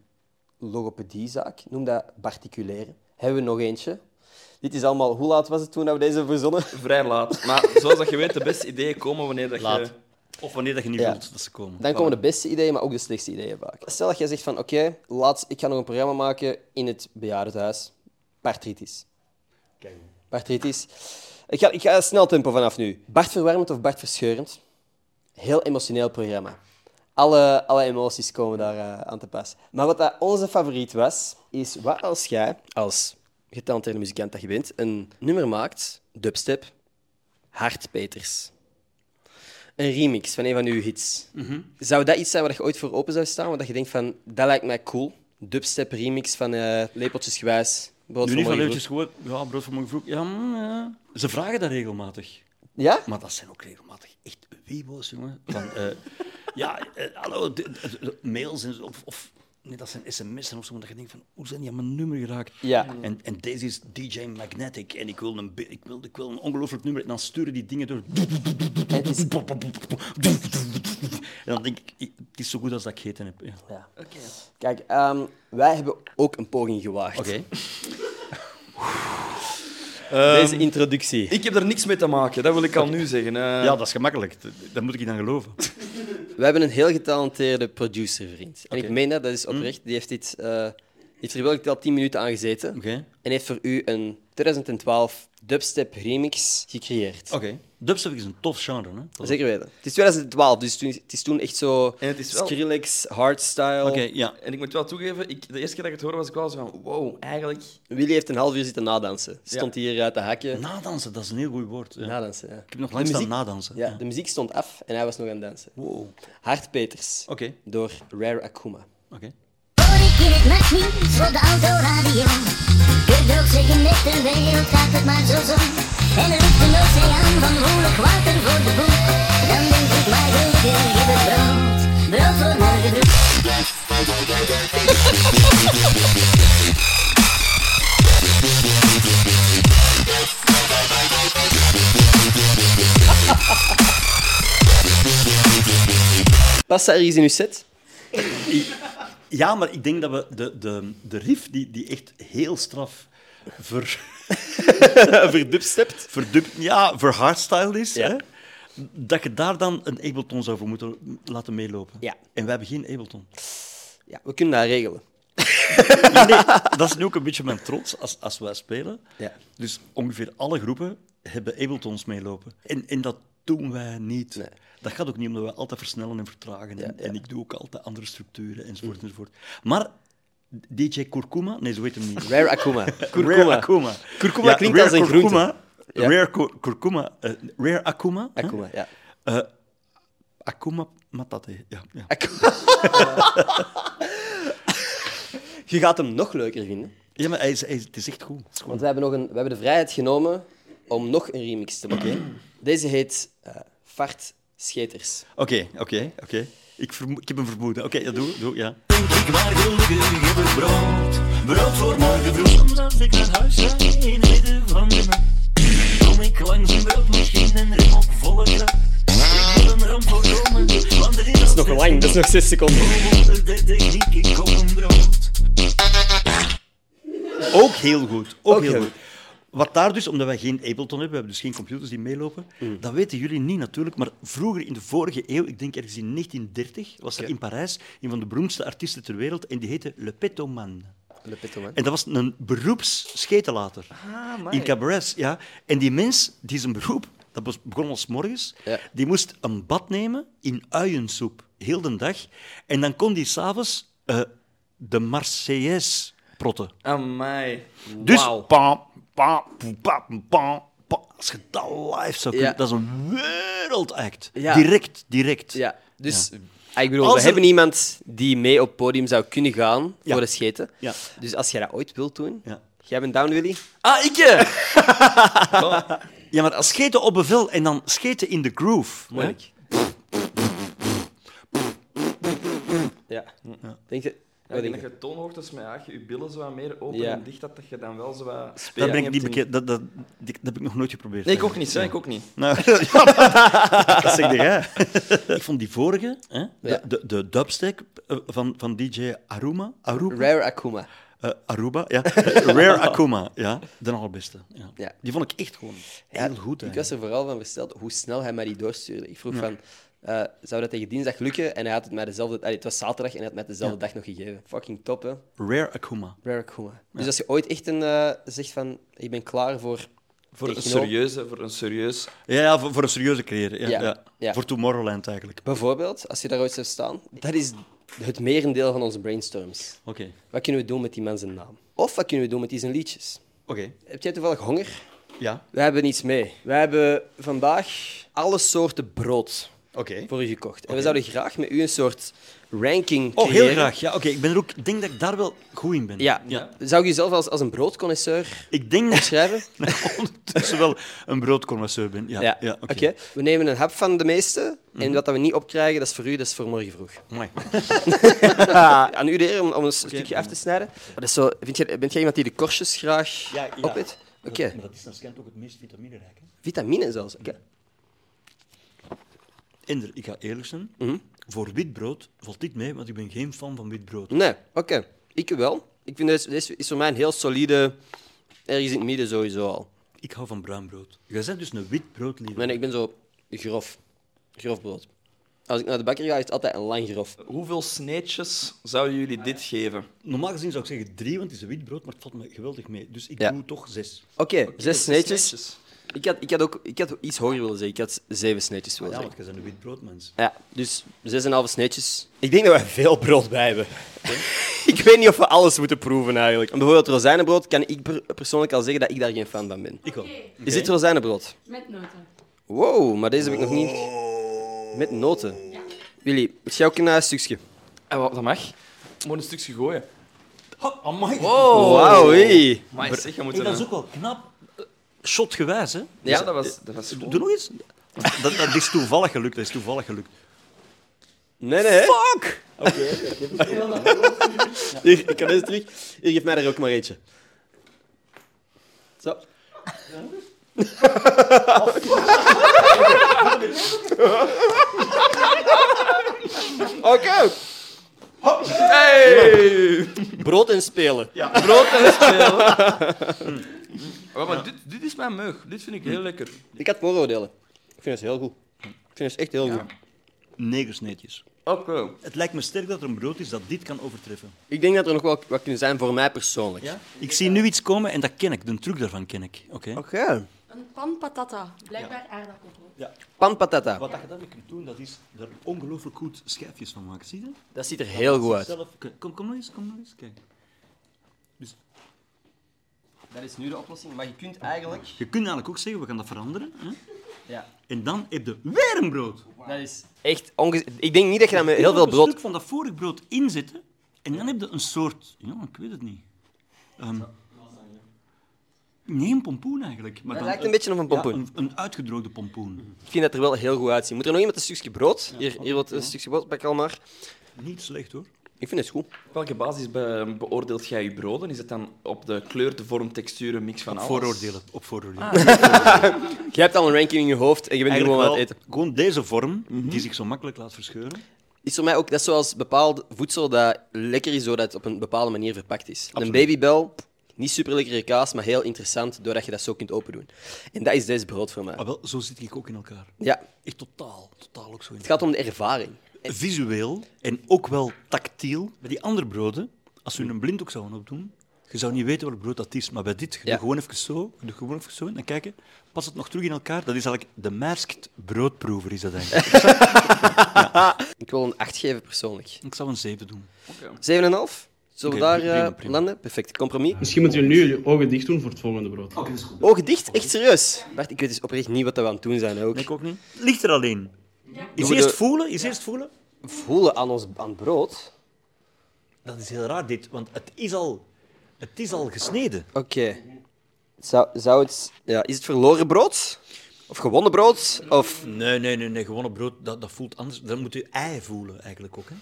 logopediezaak, noem dat particuliere. Hebben we nog eentje? Dit is allemaal, hoe laat was het toen dat we deze verzonnen?
Vrij laat. Maar zoals dat je weet, de beste ideeën komen wanneer dat
Laat.
je...
Eh, Of wanneer dat je niet
Ja.
wilt dat ze komen.
Dan komen de beste ideeën, maar ook de slechtste ideeën vaak. Stel dat jij zegt van, oké, laatst, ik ga nog een programma maken in het bejaardentehuis. Partritis. Partritis. Ik ga, ik ga snel tempo vanaf nu. Bart verwarmend of Bart verscheurend? Heel emotioneel programma. Alle, alle emoties komen daar eh, aan te pas. Maar wat dat onze favoriet was, is wat als jij, als getalenteerde muzikant dat je bent, een nummer maakt, dubstep, Hart Peters. Een remix van een van uw hits. Zou dat iets zijn waar je ooit voor open zou staan? Want dat je denkt van, dat lijkt mij cool. Dubstep remix van eh lepeltjesgewijs. Brood
Nu
voor
niet van
morgen
eventjes gewoon, ja, brood van mijn vroeg. Ja, mm, ja. Ze vragen dat regelmatig.
vroeg. Ja?
Maar dat zijn ook regelmatig echt (laughs) wiebo's, jongen. Van, eh, ja, eh, hallo, de- de- de- mails en zo, of, of net als een sms'en of zo, dat je denkt van, hoe zijn die aan mijn nummer geraakt?
Ja.
En, en deze is DJ Magnetic en ik wil een, be- ik wil, ik wil een ongelooflijk nummer. En dan sturen die dingen door. En dan denk ik, ik- het is zo goed als dat ik gegeten heb. Ja.
Ja. Kijk, ehm, wij hebben ook een poging gewaagd.
Ehm,
Deze introductie.
Ehm, Ik heb er niks mee te maken, dat wil ik al nu zeggen. Eh,
Ja, dat is gemakkelijk. Dat- Daar moet ik je dan geloven.
We hebben een heel getalenteerde producervriend. En ik meen dat, dat
Mhm.
is oprecht. Die heeft dit, eh heeft hier wel al 10 minuten aan gezeten.
Oké.
En heeft voor u een 2012 dubstep remix gecreëerd.
Dubstep is een tof genre. Hè? Dat-
Zeker weten. Het is 2012, dus toen, het is toen echt zo
En het is wel-
Skrillex, hardstyle.
Oké, ja.
En ik moet wel toegeven, ik, de eerste keer dat ik het hoorde was ik wel zo van, wow, eigenlijk...
Willy heeft een half uur zitten nadansen. Stond hier uit de hakken.
Nadansen, dat is een heel goed woord. Ja.
Nadansen, ja.
Ik heb nog
De
lang staan
muziek-
nadansen.
Ja, de muziek stond af en hij was nog aan het dansen.
Wow. Oké,
Hart Peters.
Oké.
Door Rare Akuma.
Politiek maakt nieuws voor de autoradio. Kunt ook zeggen met de wereld gaat het maar zo zo. En er roept een oceaan van woelig water voor de boeg. Dan denk ik maar gelukkig hebben brood. Brood voor morgen vroeg.
Past dat ergens in uw set?
Ik- Ja, maar ik denk dat we de, de, de riff, die, die echt heel straf ver, (laughs)
Verdubstept?
verdubt, ja, ver hardstyle is,
Ja.
hè, dat je daar dan een Ableton zou voor moeten laten meelopen.
Ja.
En wij hebben geen Ableton.
Ja, we kunnen dat regelen.
Nee, dat is nu ook een beetje mijn trots als, als wij spelen.
Ja.
Dus ongeveer alle groepen hebben Abletons meelopen. En, en dat doen wij niet.
Nee.
Dat gaat ook niet omdat wij altijd versnellen en vertragen. en, en ik doe ook altijd andere structuren
Mm.
enzovoort. enzovoort. Maar DJ Kurkuma, nee, zo
(laughs)
heet hem niet.
Rare Akuma.
Rare Akuma.
Kurkuma klinkt
rare
als een groente.
kurkuma.
Ja.
Rare kur- kurkuma. eh, rare Akuma. hè?
Akuma, ja.
Eh, Akuma Matate. Ja, ja.
Akuma. (laughs) Je gaat hem nog leuker vinden.
ja maar hij is, hij is- het is echt goed. Het is goed.
Want we hebben, nog een, we hebben de vrijheid genomen om nog een remix te maken. Deze heet eh Fart Scheters.
Oké, oké, oké. Ik, vermo- ik heb een vermoeden. Oké, ja, doe, doe, ja.
Omdat ik naar huis ga in het midden van de nacht. Kom ik langs een broodmachine en rem op volle kracht. Ik wil een ramp voorkomen, want er is nog
Nog lang, dat is nog 6 seconden.
onder de techniek, ik op een brood.
Ook heel goed. Ook
Ook
heel
heel
goed. Wat daar dus, omdat wij geen Ableton hebben, we hebben dus geen computers die meelopen,
Hmm.
dat weten jullie niet natuurlijk, maar vroeger in de vorige eeuw, ik denk ergens in 1930, was er in Parijs een van de beroemdste artiesten ter wereld en die heette Le Petoman.
Le Petoman.
En dat was een beroepsschetelater.
Ah,
in cabarets, ja. En die mens, die zijn beroep, dat bes- begon als morgens,
Ja.
die moest een bad nemen in uiensoep, heel de dag. En dan kon die s'avonds eh de Marseillaise protten.
Amai.
Dus
Wauw.
pa, pa, poe, pa, pa, pa. als je dat live zou kunnen,
Ja.
dat is een wereldact.
Ja.
Direct, direct.
Ja, dus ah, ik bedoel,
Als
we
er-
hebben iemand die mee op het podium zou kunnen gaan
Ja.
voor de scheten.
Ja.
Dus als jij dat ooit wilt doen,
Ja.
jij bent down, Willy?
Ah, ik! eh.
Ja, maar als scheten op bevel en dan scheten in de groove.
Moeilijk.
hè?
Ja. Denk je...
Ja,
Wat
ik denk
denk
dat
je?
je toon hoort, dus met ja, je je billen zo wat meer open
Ja.
en dicht, dat dat je dan wel zo wat
Dat,
speling
ben ik niet
hebt in-
bekend, dat, dat, die- dat heb ik nog nooit geprobeerd.
Nee, ik ook
eigenlijk.
niet. Hè, ik ook niet.
Nou, ja, maar- (laughs) dat zeg jij. ik vond die vorige, hè,
Ja.
de, de, de dubstep eh, van, van DJ Aruma, Aruba,
Rare Akuma.
eh, Aruba ja. (laughs) Eh, Rare Akuma, ja. de allerbeste. Ja.
Ja.
Die vond ik echt gewoon heel goed.
Ik
eigenlijk.
was er vooral van versteld hoe snel hij mij die doorstuurde. Ik vroeg van, eh, zou dat tegen dinsdag lukken? En hij had het mij dezelfde... Allee, het was zaterdag en hij had mij dezelfde dag nog gegeven. Fucking top, hè?
Rare Akuma.
Rare Akuma. Dus als je ooit echt een, eh, zegt van, ik ben klaar voor...
Voor een
techno-
serieuze, voor een serieus...
Ja, ja voor, voor een serieuze carrière. Ja,
Ja,
ja.
ja.
Voor Tomorrowland eigenlijk. Oké.
Bijvoorbeeld, als je daar ooit zou staan, dat is het merendeel van onze brainstorms. Wat kunnen we doen met die man zijn naam? Of wat kunnen we doen met die zijn liedjes?
Oké.
Heb jij toevallig honger?
Ja.
We hebben iets mee. We hebben vandaag alle soorten brood
Oké.
voor u gekocht. En we zouden graag met u een soort ranking
Oh,
creëren.
heel graag. Ja, oké. ik ben er ook, ik denk dat ik daar wel goed in ben.
Ja.
ja.
Zou je jezelf als, als een broodconnoisseur
Ik denk
(laughs)
dat
beschrijven?
ik ondertussen wel een broodconnoisseur ben. Ja, ja. oké. Mhm.
We nemen een hap van de meeste. En wat dat we niet opkrijgen, dat is voor u, dat is voor morgen
(laughs)
vroeg.
Amai.
Aan u de eer om, om een stukje af te snijden. Maar dat is zo, vind jij, bent jij iemand die de korstjes graag
Ja, ja.
opeet? Oké,
Maar dat is waarschijnlijk ook het meest vitaminerijk. Hè?
vitamine zelfs. Oké.
Inder, ik ga eerlijk zijn.
Mhm.
Voor wit brood valt dit mee, want ik ben geen fan van wit brood.
Nee, oké. Ik wel. Ik vind deze, deze is voor mij een heel solide, ergens in het midden sowieso al.
Ik hou van bruin brood. Jij bent dus een wit brood liever.
Maar nee, ik ben zo grof. Grof brood. Als ik naar de bakker ga, is het altijd een lang grof.
Hoeveel sneetjes zouden jullie dit geven?
Normaal gezien zou ik zeggen drie, want het is een wit brood, maar het valt me geweldig mee. Dus ik
Ja.
doe toch zes.
Oké, zes sneetjes.
sneetjes.
Ik had, ik, had ook, ik had iets hoger willen zeggen. Ik had zeven sneetjes willen
Ja,
zeggen.
want jij bent een wit broodmens.
Ja, dus 6,5 sneetjes. Ik denk dat wij veel brood bij hebben. (laughs) ik weet niet of we alles moeten proeven eigenlijk. Bijvoorbeeld rozijnenbrood kan ik per- persoonlijk al zeggen dat ik daar geen fan van ben.
Ik wel.
Is dit rozijnenbrood?
Met noten.
Wow, maar deze heb ik nog niet. Met noten. Jullie, ik jou ook een eh, stukje.
En wat, dat mag. Moet een stukje gooien.
Amai.
Wauw, hé.
Maar zeg, je moet
Hey, dat is
een-
ook wel knap. Shotgewijs, hè?
Ja, dat was, dat was
Doe nog eens. Dat, dat is toevallig gelukt. Dat is toevallig gelukt.
Nee, nee. Fuck! (laughs) Oké, Hier, ik kan deze terug. Hier, geef mij er ook maar eentje. Zo. Oké. Hey! Brood en spelen.
brood en speel. Ja, Hm. maar dit, dit is mijn meug. Dit vind ik heel lekker.
Ik had vooroordelen. Ik vind het heel goed. Ik vind het echt heel goed.
Negersneetjes.
Oké.
Het lijkt me sterk dat er een brood is dat dit kan overtreffen.
Ik denk dat er nog wel wat kunnen zijn voor mij persoonlijk.
Ik zie nu iets komen en dat ken ik. De truc daarvan ken ik. Oké.
Oké.
Een pan patata. Blijkbaar aardappelbrood.
Pan patata.
Wat je daarmee kunt doen, dat is er ongelooflijk goed schijfjes van maken. Zie je?
Dat ziet er heel goed uit.
Zelf... Kom, kom nog eens, kom nog eens. Kijk.
Dat is nu de oplossing, maar je kunt eigenlijk...
Je kunt eigenlijk ook zeggen, we gaan dat veranderen. Hè?
Ja.
En dan heb je weer een brood.
Dat is echt onge... Ik denk niet dat je dat met heel veel
Een
brood...
stuk van dat vorige brood inzetten en dan heb je een soort... Ja, ik weet het niet. Ehm, nee, een pompoen eigenlijk.
Dat
Maar dan
lijkt een beetje op een pompoen.
Ja, een, een uitgedroogde pompoen.
Ik vind dat er wel heel goed uitziet. Moet er nog iemand een stukje brood? Hier, hier wat een stukje brood, pak al maar.
Niet slecht hoor.
Ik vind het goed.
Op welke basis be- beoordeelt jij je broden? Is het dan op de kleur, de vorm, textuur, een mix van alles?
Vooroordelen. Op vooroordelen.
Ah. Je hebt al een ranking in je hoofd en je bent nu gewoon aan
Eigenlijk
het
wel
eten. Mhm.
Gewoon deze vorm, die zich zo makkelijk laat verscheuren.
Is voor mij ook, dat is zoals bepaald voedsel dat lekker is doordat het op een bepaalde manier verpakt is. Een babybel, niet super lekkere kaas, maar heel interessant doordat je dat zo kunt opendoen. En dat is deze brood voor mij.
Ah, wel, zo zit ik ook in elkaar.
Ja,
Echt totaal, totaal ook zo in
het gaat om de ervaring.
Visueel en ook wel tactiel. Bij die andere broden, als
Mhm.
we een blinddoek zouden opdoen, je zou niet weten welk brood dat is. Maar bij dit, je
Ja.
doet gewoon even zo, je doet gewoon even zo en dan kijken, past het nog terug in elkaar? Dat is eigenlijk de masked broodproever, is
(laughs)
dat eigenlijk.
Ik wil een 8 geven persoonlijk. 7,5?
ik zou een zeven doen.
Zullen we
Oké,
daar
prima,
eh,
prima.
landen? Perfect, compromis.
Misschien moeten jullie nu je ogen dicht doen voor het volgende brood.
Ogen dicht? Oh, Echt serieus? Bart, ik weet dus oprecht niet wat dat we aan het doen zijn. hè, Ook.
Ik ook niet. Ligt er alleen. Is
we
eerst
de-
voelen, is eerst voelen.
Voelen aan ons aan het brood?
Dat is heel raar dit, want het is al, het is al gesneden.
Oké. Zou, zou het... Ja, is het verloren brood? Of gewonnen brood? Of
Nee, nee, nee, nee. Gewoon op brood, dat, dat voelt anders. Dan moet je ei voelen eigenlijk ook. Hè?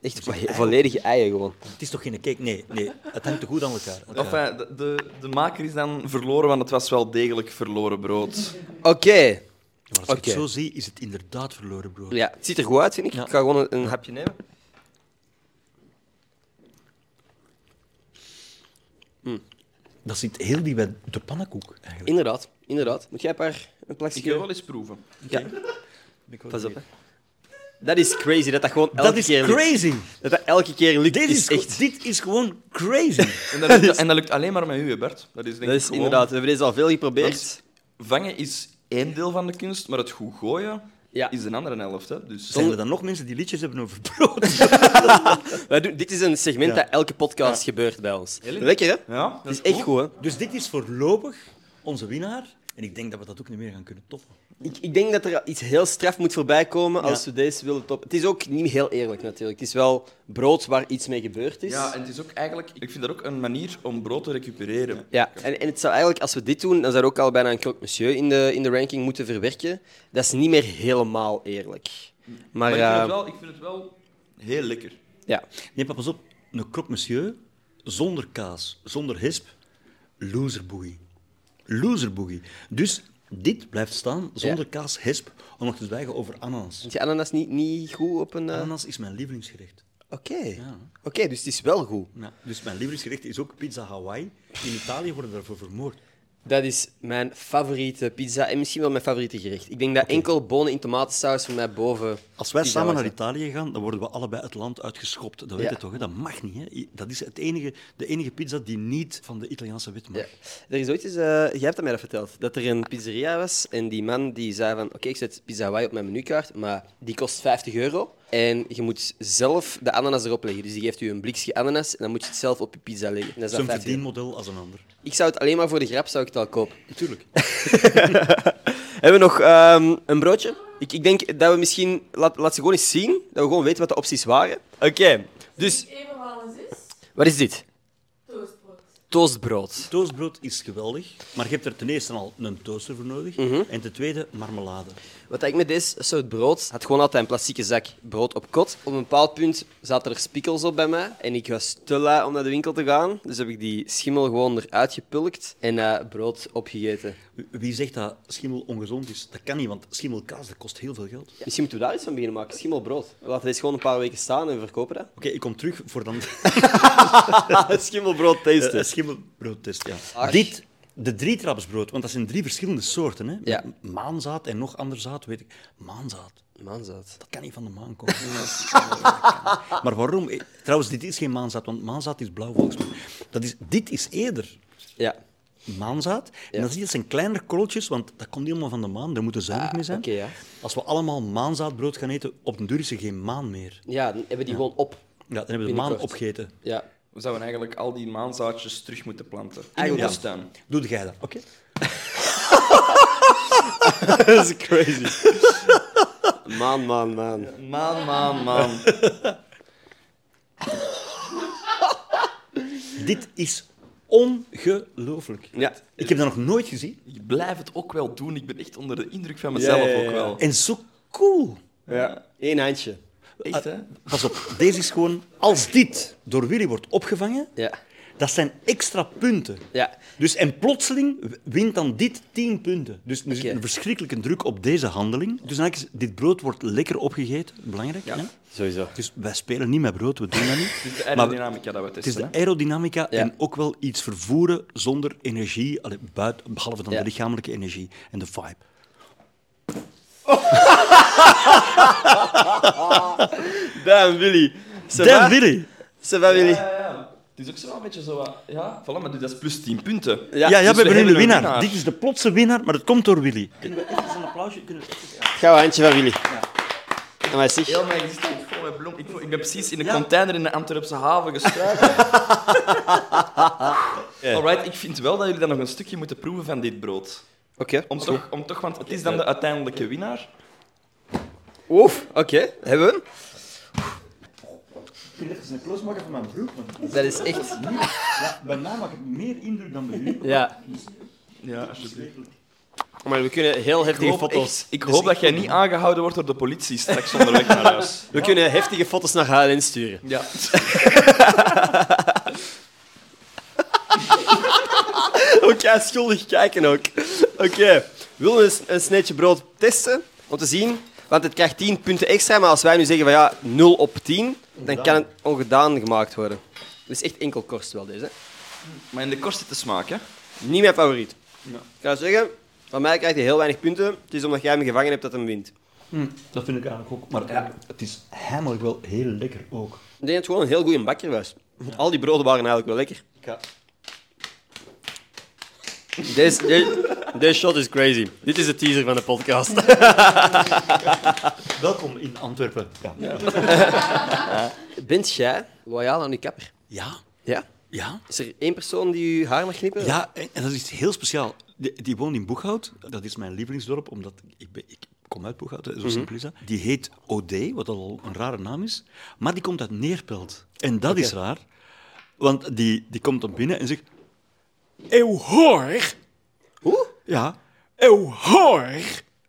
echt vo- volledige eieren gewoon?
Het is toch geen cake? Nee, nee. Het hangt te goed aan elkaar.
Of eh, de, de, de maker is dan verloren, want het was wel degelijk verloren (laughs) brood.
Oké.
Ja, maar als ik
Oké.
het zo zie, is het inderdaad verloren brood.
Ja, het ziet er goed uit, vind ik.
Ja.
Ik ga gewoon een, een hapje nemen.
Dat zit heel die bij de pannenkoek eigenlijk.
Inderdaad, inderdaad. Moet jij een paar een plakje...
Ik wil wel eens proeven.
Ja, pas op. hè. Dat is crazy, dat dat gewoon elke
Dat is
keer lukt.
crazy.
Dat dat elke keer lukt,
Dit
is
is,
echt...
dit is gewoon crazy. (laughs)
En dat, (laughs) lukt, en dat lukt alleen maar met u, hè, Bert. Dat is, denk
Dat
ik
is
gewoon-
inderdaad, we hebben deze al veel geprobeerd.
Want Vangen is één deel van de kunst, maar het goed gooien
Ja.
is een andere helft. Hè. Dus
Zijn er dan nog mensen die liedjes hebben over brood?
Wij doen, dit is een segment
Ja.
dat elke podcast gebeurt bij ons.
Heerlijk.
Lekker, hè?
Ja,
Dat is echt goed, hè?
Dus dit is voorlopig onze winnaar. En En ik denk dat we dat ook niet meer gaan kunnen toppen.
Ik, ik denk dat er iets heel straf moet voorbij komen als we deze willen toppen. Het is ook niet heel eerlijk natuurlijk. Het is wel brood waar iets mee gebeurd is.
Ja, en het is ook eigenlijk... Ik vind dat ook een manier om brood te recupereren.
Ja, en, en het zou eigenlijk, als we dit doen, dan zou er ook al bijna een croque monsieur in de, in de ranking moeten verwerken. Dat is niet meer helemaal eerlijk. Maar,
Maar ik vind,
eh,
het wel, ik vind het wel heel lekker.
ja,
Nee, papa, pas op. Een croque monsieur, zonder kaas, zonder hisp, loser boogie. Loser boogie. Dus dit blijft staan, zonder kaas, hisp, om nog te zwijgen over ananas.
vind je ananas niet, niet goed op een... eh,
Ananas is mijn lievelingsgerecht.
Oké, Oké, dus het is wel goed.
Ja. Dus mijn lievelingsgerecht is ook pizza Hawaii. In Italië worden daarvoor vermoord.
Dat is mijn favoriete pizza en misschien wel mijn favoriete gerecht. Ik denk dat enkel bonen in tomatensaus voor mij boven.
Als wij
pizza
samen
mag
naar
zijn.
Italië gaan, dan worden we allebei het land uitgeschopt. Dat weet
Ja.
je toch? Hè? Dat mag niet. Hè? I- Dat is het enige, de enige pizza die niet van de Italiaanse wit mag.
Ja. Er is ooit eens, eh, jij hebt dat mij dat verteld, dat er een pizzeria was en die man die zei van oké, ik zet pizza Hawaii op mijn menukaart, maar die kost 50 euro en je moet zelf de ananas erop leggen. Dus die geeft u een blikje ananas en dan moet je het zelf op je pizza leggen. En dat is dan
Zo'n
50 euro.
verdienmodel als een ander.
Ik zou het alleen maar voor de grap zou ik het al kopen.
Natuurlijk.
(laughs) Hebben we nog ehm, een broodje? Ik, ik denk dat we misschien... Laat, laat ze gewoon eens zien, dat we gewoon weten wat de opties waren. Oké, dus...
Even wat alles is.
Wat is dit?
Toastbrood.
Toastbrood.
Toastbrood is geweldig, maar je hebt er ten eerste al een toaster voor nodig. En ten tweede marmelade.
Wat ik met deze soort brood had gewoon altijd een plastieke zak brood op kot. Op een bepaald punt zaten er spikkels op bij mij en ik was te lui om naar de winkel te gaan. Dus heb ik die schimmel gewoon eruit gepulkt en eh, brood opgegeten.
Wie zegt dat schimmel ongezond is? Dat kan niet, want schimmelkaas dat kost heel veel geld. Oké,
Misschien moeten we daar iets van beginnen maken. Schimmelbrood. We laten deze gewoon een paar weken staan en we verkopen (laughs) dat.
ik kom terug voor dan
Ah, Schimmelbrood
Eh,
tasten.
een schimmelbroodtest, ja.
Ach.
Dit, de drietrapsbrood, want dat zijn drie verschillende soorten. Hè?
Ja.
Met Maanzaad en nog ander zaad, weet ik. Maanzaad,
Maanzaad.
dat kan niet van de maan komen. Dat kan niet. maar waarom? Eh, Trouwens, dit is geen maanzaad, want maanzaad is blauw volgens mij. Dat is, dit is eerder
Ja.
maanzaad. En dan zie je, dat zijn kleinere korreltjes, want dat komt niet helemaal van de maan. Daar moeten we zuinig
Ah,
mee zijn.
oké, ja.
Als we allemaal maanzaadbrood gaan eten, op den duur is er geen maan meer.
Ja, dan hebben we die gewoon op.
Ja, dan hebben we de maan
Binnenkort.
opgegeten.
Ja.
We zouden eigenlijk al die maanzaadjes terug moeten planten. In
Eigenlijk
de
ja.
tuin.
Doe jij dat, oké?
Dat is crazy. Man, man, man.
Maan, maan, maan.
Dit is ongelooflijk.
Ja.
Ik heb dat nog nooit gezien.
Je blijft het ook wel doen. Ik ben echt onder de indruk van mezelf
Ja, ja, ja.
ook wel.
En zo cool.
Ja. Eén handje.
Echt, hè?
Pas op, deze is gewoon... Als dit door Willy wordt opgevangen,
Ja.
dat zijn extra punten.
Ja.
Dus, en plotseling wint dan dit 10 punten. Dus er zit
Oké.
een verschrikkelijke druk op deze handeling. Dus eigenlijk is, dit brood wordt lekker opgegeten. Belangrijk, ja.
Sowieso.
Dus wij spelen niet met brood, we doen dat niet.
Het is de
Maar
aerodynamica dat we
het is
testen.
de
hè.
aerodynamica
Ja.
en ook wel iets vervoeren zonder energie, allee, buiten, behalve dan
Ja.
de lichamelijke energie en de vibe.
Damn, Willy.
Damn, Willy!
Ça va, Willy?
Ja, ja, ja. Het is ook zo een beetje zo wat... Ja, voilà, maar dat is plus 10 punten.
Ja,
Ja, ja,
dus
we hebben nu
hebben
een
een
winnaar.
winnaar.
Dit is de plotse winnaar, maar dat komt door Willy.
Gauw handje van Willy. Ja. Maar zeg,
Heel mijn existentie vol met bloem. Ik, voel- ik ben precies in een container in de Antwerpse haven gestruikeld. Alright, ik vind wel dat jullie dan nog een stukje moeten proeven van dit brood.
Oké.
Om toch, om toch, want het is dan de uiteindelijke winnaar.
Oef, oké. Hebben we hem?
Ik wil even een close maken van mijn broek.
Dat is echt...
Bij mij maakt het meer indruk dan bij u.
Ja.
Ja, alsjeblieft.
Maar we kunnen heel
Ik
heftige
hoop,
foto's... Dus
echt- Dus ik hoop dat jij niet aangehouden wordt door de politie straks onderweg naar huis.
We kunnen heftige foto's naar HLN (laughs) sturen.
(laughs) Ja.
Oké, schuldig kijken ook. Oké. Willen we eens een sneetje brood testen? Om te zien... Want het krijgt 10 punten extra, maar als wij nu zeggen van ja, 0 op 10, dan kan het ongedaan gemaakt worden. Het is echt enkel korst wel deze. hè.
Maar in de korst zit de smaak, hè?
Niet mijn favoriet. Ik ga zeggen, van mij krijgt hij heel weinig punten. Het is omdat jij hem gevangen hebt dat hem wint.
Dat vind ik eigenlijk ook. Maar het is heimelijk wel heel lekker ook.
Ik denk dat het gewoon een heel goede bakker was. Want Al die broden waren eigenlijk wel lekker. Deze, de- deze shot is crazy. Dit is de teaser van de podcast.
Welkom in Antwerpen. Ja. Ja?
(laughs) Bent jij loyaal aan je kapper?
Ja?
Ja.
Ja,
Is er één persoon die je haar mag knippen?
en, en dat is iets heel speciaal. Die, die woont in Boeghout. Dat is mijn lievelingsdorp, omdat ik, ben- ik kom uit Boeghout, hè, zo simpel is dat. Die heet Ode, wat al een rare naam is. Maar die komt uit Neerpelt. En dat is raar, want die, die komt dan binnen en zegt... Eeuw hoor!
Hoe?
Ja. Eeuw hoor!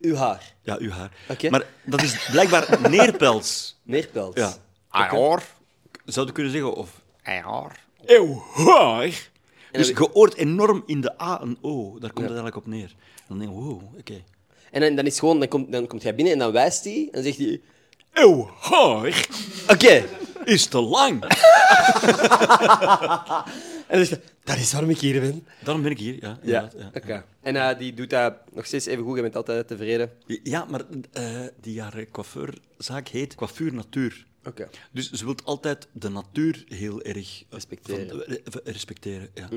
Uw haar.
Ja, uw haar.
Oké.
Maar dat is blijkbaar Neerpels.
Neerpelt.
Ja.
Ah, hoor.
Zou je kunnen zeggen, of...
Ah, hoor.
Eeuw hoor! Dus
heb
je hoort enorm in de A en O. Daar komt het eigenlijk op neer. Dan denk je, wow, oké.
En dan, dan is gewoon, dan komt, dan komt hij binnen en dan wijst hij en zegt hij...
Eeuw hoor!
Oké.
is te lang.
En dan zegt hij, dat is waarom ik hier ben.
Daarom ben ik hier, ja.
Ja.
inderdaad, Ja,
Oké. En eh, die doet dat nog steeds even goed. Je bent altijd tevreden.
Ja, maar eh, die haar eh, coiffeurzaak heet Coiffure Natuur.
Oké.
Dus ze wilt altijd de natuur heel erg eh,
Respecteren.
van- eh, eh, respecteren ja.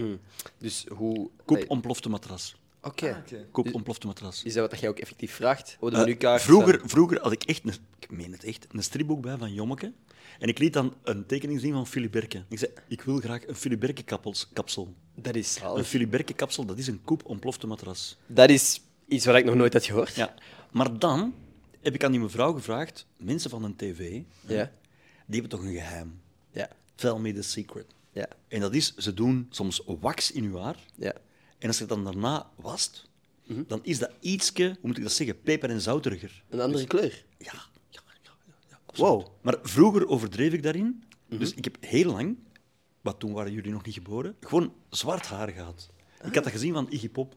Dus hoe...
Koop
Allee,
ontplofte matras.
Ah, Oké.
Koop ontplofte matras.
Is dat wat jij ook effectief vraagt? Oh, de
Eh,
menukaart.
vroeger, vroeger had ik echt, een, ik meen het echt, een stripboek bij van Jommeke. En ik liet dan een tekening zien van Filiberke. Ik zei, ik wil graag een Filiberke-kapsel.
Dat is
Een
zalig.
Filiberke-kapsel, dat is een koep ontplofte matras.
Dat is iets wat ik nog nooit had gehoord.
Ja. Maar dan heb ik aan die mevrouw gevraagd, mensen van een tv,
Ja.
die hebben toch een geheim.
Ja.
Tell me the secret.
Ja.
En dat is, ze doen soms wax in uw haar.
Ja. Mhm.
En als je het dan daarna wast, dan is dat ietsje, hoe moet ik dat zeggen, peper- en zouteriger.
Een andere kleur.
Ja, ja, ja. ja absoluut.
Wow.
Maar vroeger overdreef ik daarin. Dus ik heb heel lang, wat toen waren jullie nog niet geboren, gewoon zwart haar gehad. Ik had dat gezien van Iggy (laughs) Pop.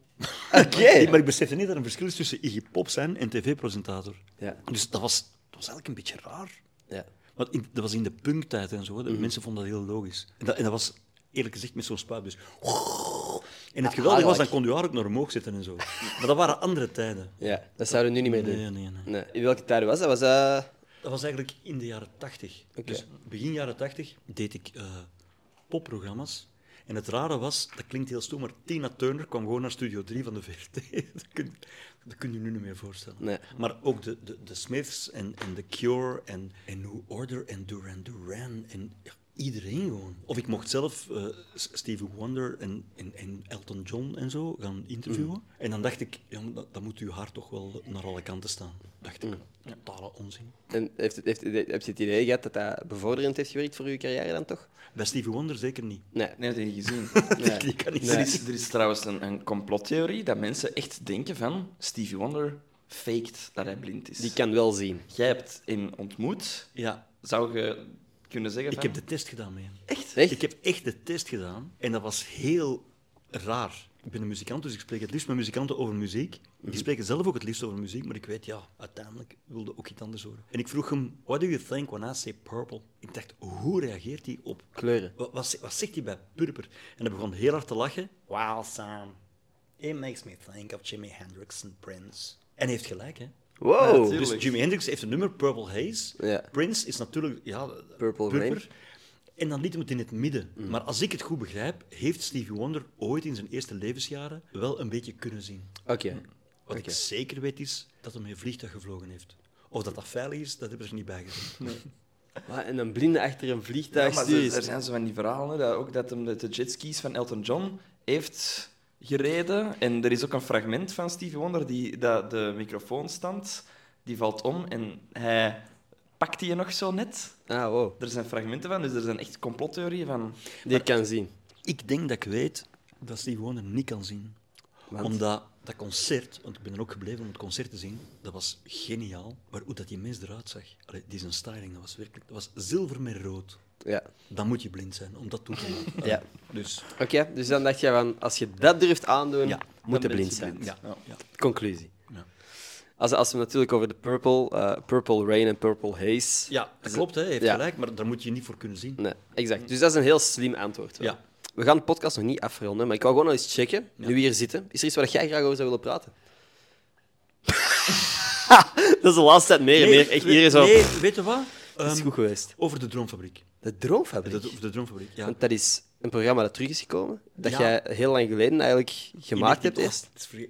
Oké.
Maar ik besefte niet dat er een verschil is tussen Iggy Pop zijn en tv-presentator.
Ja.
Dus dat was, dat was eigenlijk een beetje raar.
Ja.
Want in- dat was in de punktijd en zo. hè. De Mensen vonden dat heel logisch. En dat, en dat was eerlijk gezegd met zo'n spuit. Dus... En het geweldige was, dan kon je haar ook naar omhoog zetten en zo. Maar dat waren andere tijden.
Ja. Dat zouden we nu niet meer doen.
Nee, nee, nee.
In welke tijd was dat? Was dat...
Dat was eigenlijk in de jaren tachtig. Dus begin jaren tachtig deed ik eh, popprogramma's. En het rare was, dat klinkt heel stoer, maar Tina Turner kwam gewoon naar Studio 3 van de VRT. (laughs) dat, kun, dat kun je nu niet meer voorstellen.
Nee.
Maar ook de, de, de Smiths en, en The Cure en, en New Order en Duran Duran en ja, iedereen gewoon. Of ik mocht zelf eh, S- Stevie Wonder en, en, en Elton John en zo gaan interviewen. En dan dacht ik, ja, maar dat, dat moet uw hart toch wel naar alle kanten staan. Dacht ik, totale onzin.
En heeft, het- heeft, heeft, heb je het idee gehad dat dat bevorderend heeft gewerkt voor je carrière dan toch?
Bij Stevie Wonder zeker niet.
Nee.
Nee, dat heb je (laughs) gezien.
Nee.
(laughs) Die kan niet
Er,
Nee.
zien.
is, er is trouwens een, een complottheorie dat mensen echt denken van Stevie Wonder faked dat hij blind is.
Die kan wel zien.
Jij hebt hem ontmoet.
Ja,
Zou je kunnen zeggen
ik
van...
heb de test gedaan mee.
Echt?
Ik heb echt de test gedaan en dat was heel raar. Ik ben een muzikant, dus ik spreek het liefst met muzikanten over muziek.
Mhm.
Die spreken zelf ook het liefst over muziek, maar ik weet, ja, uiteindelijk wilde ook iets anders horen. En ik vroeg hem, what do you think when I say purple? Ik dacht, hoe reageert hij op
Kleuren.
Wat, wat, ze- wat zegt hij bij purper? En hij begon heel hard te lachen. Wow, Sam. It makes me think of Jimi Hendrix and Prince. En hij heeft gelijk, hè?
Wow.
Ja,
Dus
Tuurlijk.
Jimi Hendrix heeft een nummer, Purple Haze.
Ja.
Prince is natuurlijk... Ja,
Purple
purper.
Rain. Mm.
En dan liet hem het in het midden. Maar als ik het goed begrijp, heeft Stevie Wonder ooit in zijn eerste levensjaren wel een beetje kunnen zien.
Oké.
Wat ik zeker weet is dat hij met een vliegtuig gevlogen heeft. Of dat dat veilig is, dat hebben ze er niet bij gezegd.
Wat, En een blinde achter een
Ja,
vliegtuig
maar
stuurt.
er, er zijn zo van die verhalen, hè, dat ook dat hem de, de jetskis van Elton John heeft gereden. En er is ook een fragment van Stevie Wonder, die, dat de microfoonstand, die valt om en hij pakt die nog zo net.
Ah, wow.
Er zijn fragmenten van, dus er zijn echt complottheorieën van.
Die kan zien.
Ik denk dat ik weet dat Stevie Wonder niet kan zien.
Want?
Omdat dat concert, want ik ben er ook gebleven om het concert te zien, dat was geniaal. Maar hoe dat die mens eruit zag, allee, die zijn styling, dat was werkelijk... Dat was zilver met rood.
Ja.
Dan moet je blind zijn om dat toe te doen.
Ja.
Dus,
Oké, dus dan dacht je van, als je dat durft aandoen,
Ja,
moet je
ben
blind
je
zijn.
ja. ja.
Conclusie.
Ja.
Als, als we natuurlijk over de purple, eh, purple rain en purple haze... Dus-
ja, dat klopt, hè, hij heeft
Ja.
gelijk, maar daar moet je niet voor kunnen zien.
Nee, exact. Dus dat is een heel slim antwoord. wel.
Ja.
We gaan de podcast nog niet afronden, maar ik wou gewoon al eens checken, nu we hier zitten, is er iets waar jij graag over zou willen
(laughs)
praten? (laughs) dat is de laatste tijd meer en meer. Echt, hier is al...
Nee, weet je wat?
dat is
Ehm,
goed geweest.
over de Droomfabriek.
De droomfabriek.
De, de Droomfabriek, ja.
Want dat is een programma dat terug is gekomen, dat
Ja.
jij heel lang geleden eigenlijk gemaakt hebt eerst.
Het is verge-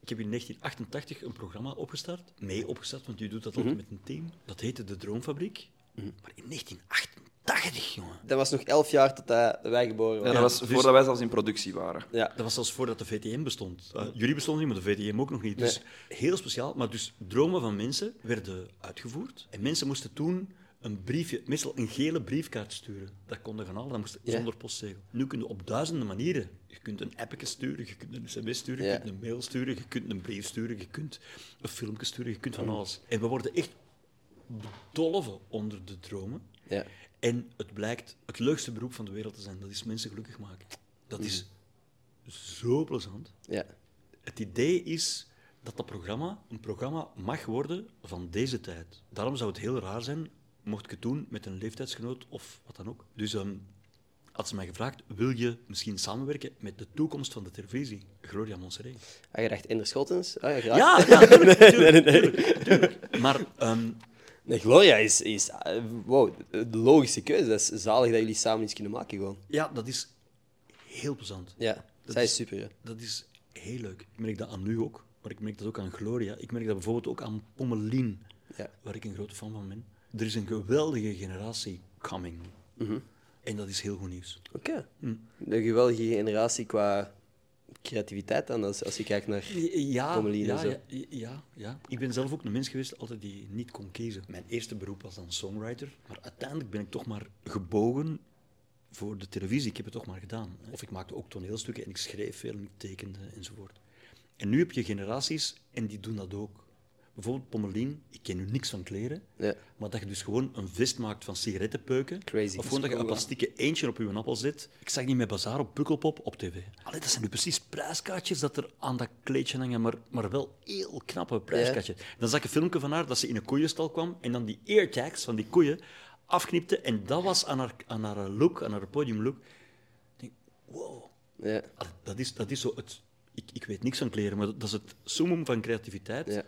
Ik heb in 1988 een programma opgestart,
Mhm.
mee opgestart, want je doet dat altijd met een team. Dat heette De Droomfabriek. Maar in 1988 80, jongen.
Dat was nog elf jaar tot dat wij geboren
Ja,
waren.
dat was
dus-
voordat wij zelfs in productie waren.
Ja.
Dat was zelfs voordat de VTM bestond. Eh, jullie bestonden niet, maar de VTM ook nog niet. Dus heel speciaal. Maar dus dromen van mensen werden uitgevoerd. En mensen moesten toen een briefje, meestal een gele briefkaart sturen. Dat konden gaan halen, dat moest
Ja.
zonder postzegel. Nu kun je op duizenden manieren. Je kunt een appje sturen, je kunt een sms sturen,
Ja.
je kunt een mail sturen, je kunt een brief sturen, je kunt een filmpje sturen, je kunt
Mm.
van alles. En we worden echt bedolven onder de dromen.
Ja.
En het blijkt het leukste beroep van de wereld te zijn. Dat is mensen gelukkig maken. Dat is zo plezant.
Ja.
Het idee is dat dat programma een programma mag worden van deze tijd. Daarom zou het heel raar zijn mocht ik het doen met een leeftijdsgenoot of wat dan ook. Dus ehm had ze mij gevraagd, wil je misschien samenwerken met de toekomst van de televisie? Gloria Monserrat.
Had je dacht Ender Schottens? Ah, ja, graag.
Ja, ja, tuurlijk, tuurlijk, tuurlijk, tuurlijk. Maar ehm,
Nee, Gloria is, is eh, wow, de logische keuze. Dat is zalig dat jullie samen iets kunnen maken gewoon.
ja, dat is heel plezant.
Ja,
Dat
zij
is-
is super. ja.
Dat is heel leuk. Ik merk dat aan nu ook, maar ik merk dat ook aan Gloria. Ik merk dat bijvoorbeeld ook aan Pommelien,
Ja.
waar ik een grote fan van ben. Er is een geweldige generatie coming.
Mhm.
En dat is heel goed nieuws.
Oké. Hm. De geweldige generatie qua creativiteit dan, als, als je kijkt naar...
Ja,
Pommelien en
ja,
zo.
ja, ja, ja. Ik ben zelf ook een mens geweest altijd die niet kon kiezen. Mijn eerste beroep was dan songwriter, maar uiteindelijk ben ik toch maar gebogen voor de televisie. Ik heb het toch maar gedaan. Of ik maakte ook toneelstukken en ik schreef veel, en ik tekende enzovoort. En nu heb je generaties en die doen dat ook. Bijvoorbeeld Pommelien, ik ken nu niks van kleren,
Ja.
maar dat je dus gewoon een vest maakt van sigarettenpeuken.
Crazy.
Of gewoon dat je een
Cool, hè?
plastieke eentje op je appel zit. Ik zag die met Bazaar op Pukkelpop op tv. Allee, dat zijn nu precies prijskaartjes dat er aan dat kleedje hangen, maar, maar wel heel knappe prijskaartjes. Dan zag ik een filmpje van haar dat ze in een koeienstal kwam en dan die eartags van die koeien afknipte. En dat was aan haar, aan haar look, aan haar podiumlook. Ik denk, wow.
Ja.
Allee, dat, is, dat is zo het... Ik, ik weet niks van kleren, maar dat is het summum van creativiteit.
Ja.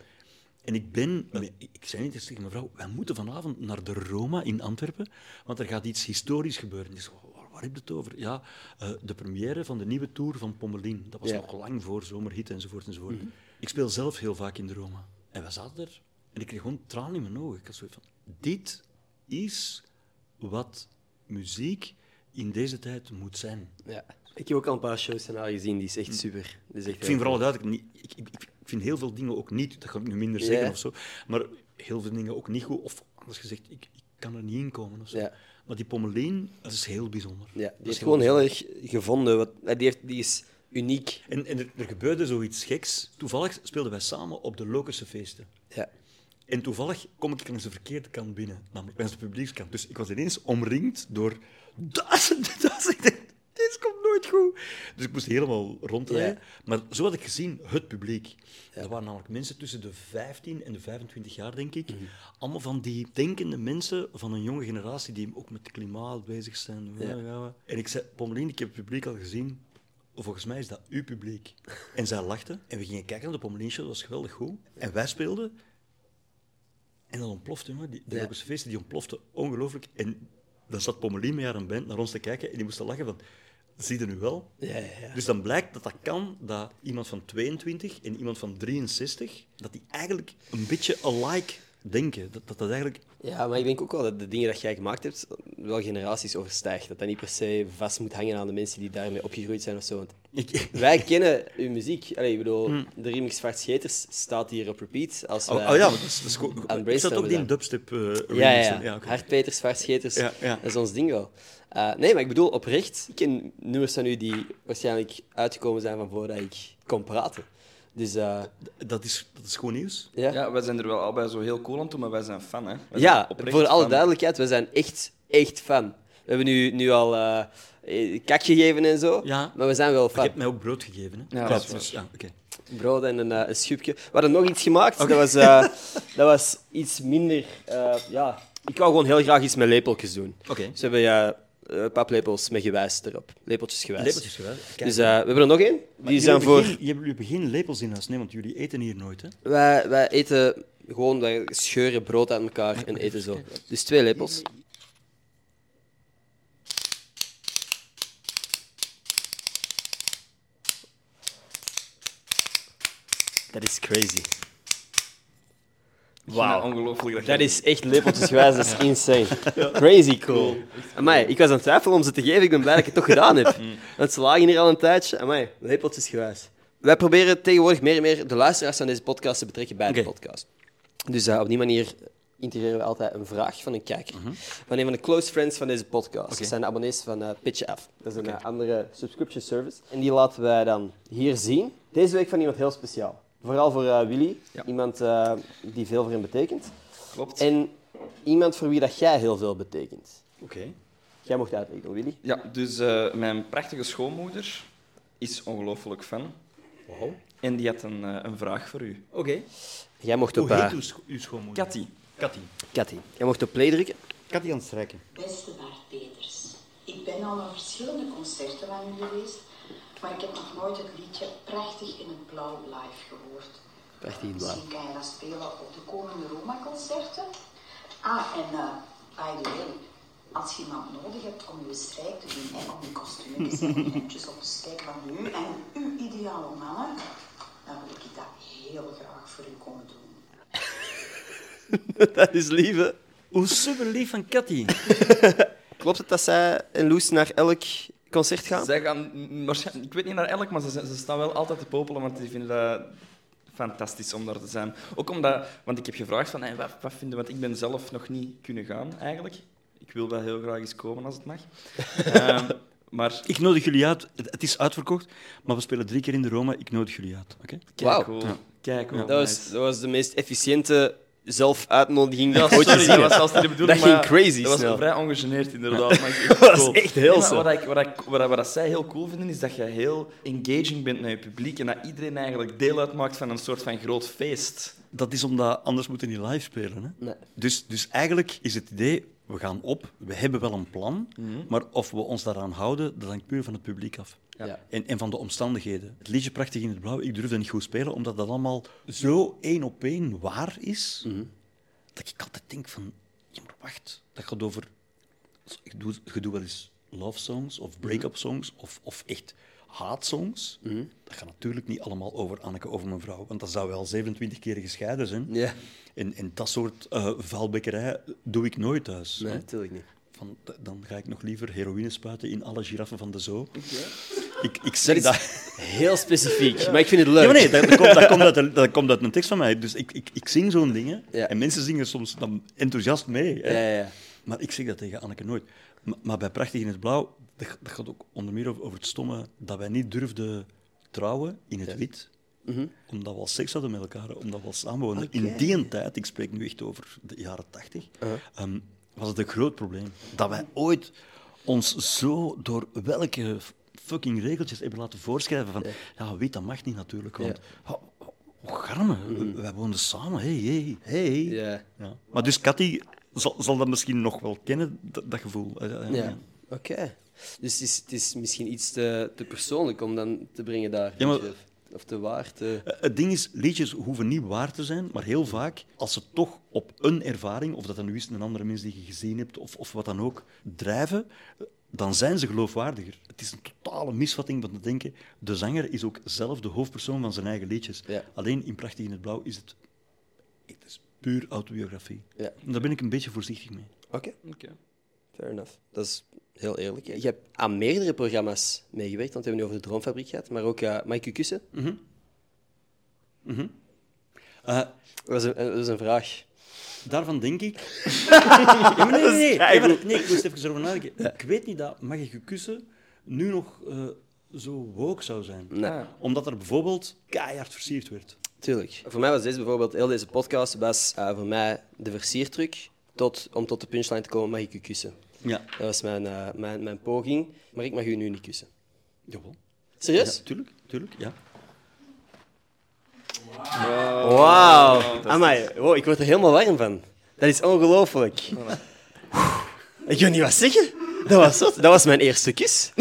En ik ben... Ik ik zei niet eens tegen mevrouw, wij moeten vanavond naar de Roma in Antwerpen, want er gaat iets historisch gebeuren. Die zo, waar, waar heb je het over? Ja, eh, de première van de nieuwe tour van Pommelien. Dat was
Ja. Mhm.
nog lang voor zomerhit enzovoort enzovoort. Ik speel zelf heel vaak in de Roma. En we zaten er. En ik kreeg gewoon tranen in mijn ogen. Ik had zoiets van, dit is wat muziek in deze tijd moet zijn.
ja. Ik heb ook al een paar shows van haar gezien, die is echt super. Die is echt
Ik vind vooral duidelijk, niet- ik, ik, ik vind heel veel dingen ook niet, dat ga ik nu minder zeggen
Ja.
of zo, maar heel veel dingen ook niet goed, of anders gezegd, ik, ik kan er niet in komen of zo.
Ja.
Maar die pommelien, dat is heel bijzonder.
Ja,
Dat
die heeft
is
gewoon heel
bijzonder.
erg gevonden. Wat, eh, die, heeft, die is uniek.
En, en er, er gebeurde zoiets geks. Toevallig speelden wij samen op de Lokerse feesten.
Ja.
En toevallig kom ik langs de verkeerde kant binnen, namelijk langs de publiekskant. Dus ik was ineens omringd door duizenden, (laughs) duizenden. Ik dacht, Dit komt nooit goed. Dus ik moest helemaal rondrijden.
Ja.
Maar zo had ik gezien het publiek. Er waren namelijk mensen tussen de 15 en de 25 jaar, denk ik. Allemaal van die denkende mensen van een jonge generatie die ook met het klimaat bezig zijn. Ja, gaan we. En ik zei, Pommelien, ik heb het publiek al gezien. Volgens mij is dat uw publiek. En zij lachten. En we gingen kijken naar de Pommelien Show, dat was geweldig goed. En wij speelden. En dat ontplofte, jongen. Die, de
Ja.
Logische Feesten, die ontplofte ongelooflijk. En dan zat Pommelien met haar band naar ons te kijken en die moesten lachen van... Zie je nu wel?
Ja, ja, ja.
Dus dan blijkt dat dat kan, dat iemand van 22 en iemand van 63, dat die eigenlijk een beetje alike denken. Dat dat, dat eigenlijk...
Ja, maar ik denk ook wel dat de dingen dat jij gemaakt hebt, wel generaties overstijgt. Dat dat niet per se vast moet hangen aan de mensen die daarmee opgegroeid zijn of zo. Want
Ik,
(laughs)
Hmm.
wij kennen uw muziek. Allee, ik bedoel, de remix Zwart Scheters staat hier op repeat. Als
oh,
wij-
oh ja, maar dat is, dat is gewoon...
Aan
Is dat
brainstormen
ook die
dan.
dubstep eh
Ja,
remix?
ja. ja
oké.
Hartpeters, Vaarscheters,
Ja, ja.
dat is ons ding wel. Eh, nee, maar ik bedoel oprecht, ik ken nummers van u die waarschijnlijk uitgekomen zijn van voordat ik kon praten. Dus eh,
Dat is, dat is gewoon nieuws.
ja. Ja,
Ja, wij zijn er wel allebei zo heel cool aan toe, maar wij zijn fan, hè. Wij zijn oprecht
voor alle
fan.
duidelijkheid, we zijn echt, echt fan. We hebben nu, nu al eh, eh, kak gegeven en zo,
Ja.
maar we zijn wel
Je
fan.
hebt mij ook brood gegeven, hè?
Ja, dat is
dus- ja, oké.
Brood en een, eh, een schubje. We hadden nog iets gemaakt, dat, was,
(laughs)
eh, dat was iets minder... eh, ja. Ik wou gewoon heel graag iets met lepeltjes doen.
Oké.
Ze hebben ja, eh, paplepels met gewijs erop. Lepeltjes gewijs.
Lepeltjes gewijs. Kijk.
Dus eh, we hebben er nog één. Die zijn voor...
Je hebt jullie begin lepels in huis, nee, want jullie eten hier nooit, hè?
Wij, wij eten gewoon, wij scheuren brood aan elkaar en eten zo. Dus twee lepels. Dat is crazy. Wauw.
Ongelooflijk. Dat, je-
Dat is echt lepeltjesgewijs, dat is insane. Crazy cool. Amai, ik was aan het twijfelen om ze te geven, ik ben blij dat ik het toch gedaan heb. Want ze lagen hier al een tijdje. Amai, lepeltjesgewijs. Wij proberen tegenwoordig meer en meer de luisteraars aan deze podcast te betrekken bij de
Oké.
podcast. Dus eh, op die manier integreren we altijd een vraag van een kijker. Van een van de close friends van deze podcast. Dat zijn de abonnees van eh Pitch F. Dat is een eh, andere subscription service. En die laten wij dan hier zien. Deze week van iemand heel speciaal. Vooral voor eh, Willy. Iemand eh, die veel voor hem betekent.
Klopt.
En iemand voor wie dat jij heel veel betekent.
Oké.
Jij mocht uitleggen, Willy.
Ja, dus eh, mijn prachtige schoonmoeder is ongelooflijk fan.
Wow.
En die had een, eh, een vraag voor u.
Oké.
Jij mocht op
Hoe
eh
heet uw, scho- uw schoonmoeder?
Cathy,
Katty.
Cathy. Jij mocht op play drukken. (laughs)
Katty aan het strijken.
Beste Bart Peters, ik ben al aan verschillende concerten van u geweest, maar ik heb nog nooit het liedje Prachtig in het Blauw live gehoord.
Prachtig in het blauw.
Misschien kan je dat spelen op de komende Roma-concerten. Ah, en eh, by the way, als je iemand nodig hebt om je strijk te doen en om je kostuumpjes
(laughs)
en elementjes op de stijk van u en uw ideale mannen, dan wil ik dat heel graag voor u komen doen.
dat is lieve.
Hoe superlief van
(laughs)
Katty.
Klopt het dat zij en Loes naar elk concert gaan?
Zij gaan, mm, waarschijn- ik weet niet naar elk, maar ze, zijn- ze staan wel altijd te popelen, want die vinden dat fantastisch om daar te zijn. Ook omdat, want ik heb gevraagd van, hey, wat, wat vinden, want ik ben zelf nog niet kunnen gaan eigenlijk. Ik wil wel heel graag eens komen als het mag. (laughs) Ehm, maar
Ik nodig jullie uit. Het het is uitverkocht, maar we spelen drie keer in de Roma. Ik nodig jullie uit. Oké?
Wauw.
kijk hoe, kijk hoe.
Dat was, dat was de meest efficiënte zelfuitnodiging die
Ja,
ik ooit
sorry,
gezien
dat
heb.
was zelfs niet de bedoeling.
Dat ging
maar
crazy
Dat
snel.
was vrij ongegeneerd,
(laughs)
inderdaad. Maar ik-
Dat was
cool.
echt heel
Nee, maar
zo.
Wat, ik, wat, ik, wat, wat dat zij heel cool vinden, is dat je heel engaging bent naar je publiek en dat iedereen eigenlijk deel uitmaakt van een soort van groot feest.
Dat is omdat anders moeten die live spelen. Hè?
Nee.
Dus, dus eigenlijk is het idee, we gaan op, we hebben wel een plan, maar of we ons daaraan houden, dat hangt puur van het publiek af.
Ja.
En, en van de omstandigheden. Het liedje Prachtig in het Blauw, ik durfde niet goed spelen, omdat dat allemaal zo één op één waar is, dat ik altijd denk van, ja maar wacht, dat gaat over... Ik doe, je doet wel eens love songs of
Mhm.
break-up songs of, of echt haatsongs. Dat gaat natuurlijk niet allemaal over Anneke, over mijn vrouw, want dan zou wel 27 keer gescheiden zijn.
Ja.
En, en dat soort eh vuilbekkerij doe ik nooit thuis.
Nee,
hè.
natuurlijk niet.
Van, d- dan ga ik nog liever heroïne spuiten in alle giraffen van de zoo. Ik, ik
Dat
zeg
is
dat...
heel specifiek, maar ik vind het leuk.
Ja, maar nee, dat, dat komt, dat, komt uit, de- dat komt uit een tekst van mij. Dus ik, ik, ik zing zo'n dingen
Ja.
en mensen zingen soms dan enthousiast mee. hè.
Ja, ja, ja.
Maar ik zeg dat tegen Anneke nooit. Maar, maar bij Prachtig in het Blauw, dat, g- dat gaat ook onder meer over, over het stomme dat wij niet durfden trouwen in het wit. Omdat we al seks hadden met elkaar, omdat we al samenwoonden. In die een tijd, ik spreek nu echt over de jaren tachtig, ehm, was het een groot probleem. Dat wij ooit ons zo door welke f- fucking regeltjes hebben laten voorschrijven van, ja, wit, dat mag niet natuurlijk, want... oh, oh, Garme, wij woonden samen. Hey, hey, hey.
Ja.
Ja. Maar dus Cathy zal, zal dat misschien nog wel kennen, dat, dat gevoel. Eh, eh,
Ja. Oké. Dus het is, het is misschien iets te, te persoonlijk om dan te brengen daar.
Ja, maar-
Of te waar, te...
Eh, Het ding is, liedjes hoeven niet waar te zijn, maar heel vaak, als ze toch op een ervaring, of dat dan nu is een andere mens die je gezien hebt, of, of wat dan ook, drijven, eh, dan zijn ze geloofwaardiger. Het is een totale misvatting van te denken, de zanger is ook zelf de hoofdpersoon van zijn eigen liedjes.
Ja.
Alleen in Prachtig in het Blauw is het, het is puur autobiografie.
Ja.
En daar ben ik een beetje voorzichtig mee.
Oké. Fair enough. Dat is heel eerlijk. Je hebt aan meerdere programma's meegewerkt, want we hebben nu over de Droomfabriek gehad, maar ook eh Mag ik u kussen?
Eh,
Dat is een, dat was een vraag.
Daarvan denk
(laughs)
ik. Ja, maar nee, nee, nee. Ja, maar nee, ik moest even erover nadenken. Ik weet niet dat mag ik je kussen nu nog eh, zo woke zou zijn.
Nee.
Omdat er bijvoorbeeld keihard versierd werd.
Tuurlijk. Voor mij was deze bijvoorbeeld, heel deze podcast, was eh, voor mij de versiertruc tot, om tot de punchline te komen, mag ik u kussen?
Ja.
Dat was mijn, eh, mijn, mijn poging, maar ik mag u nu niet kussen.
Jawel.
Serieus?
Ja, tuurlijk, tuurlijk, ja.
Wauw. Amai, wow, ik word er helemaal warm van. Dat is ongelooflijk. Ik wil niet wat zeggen. Dat was zot. Dat was mijn eerste kus.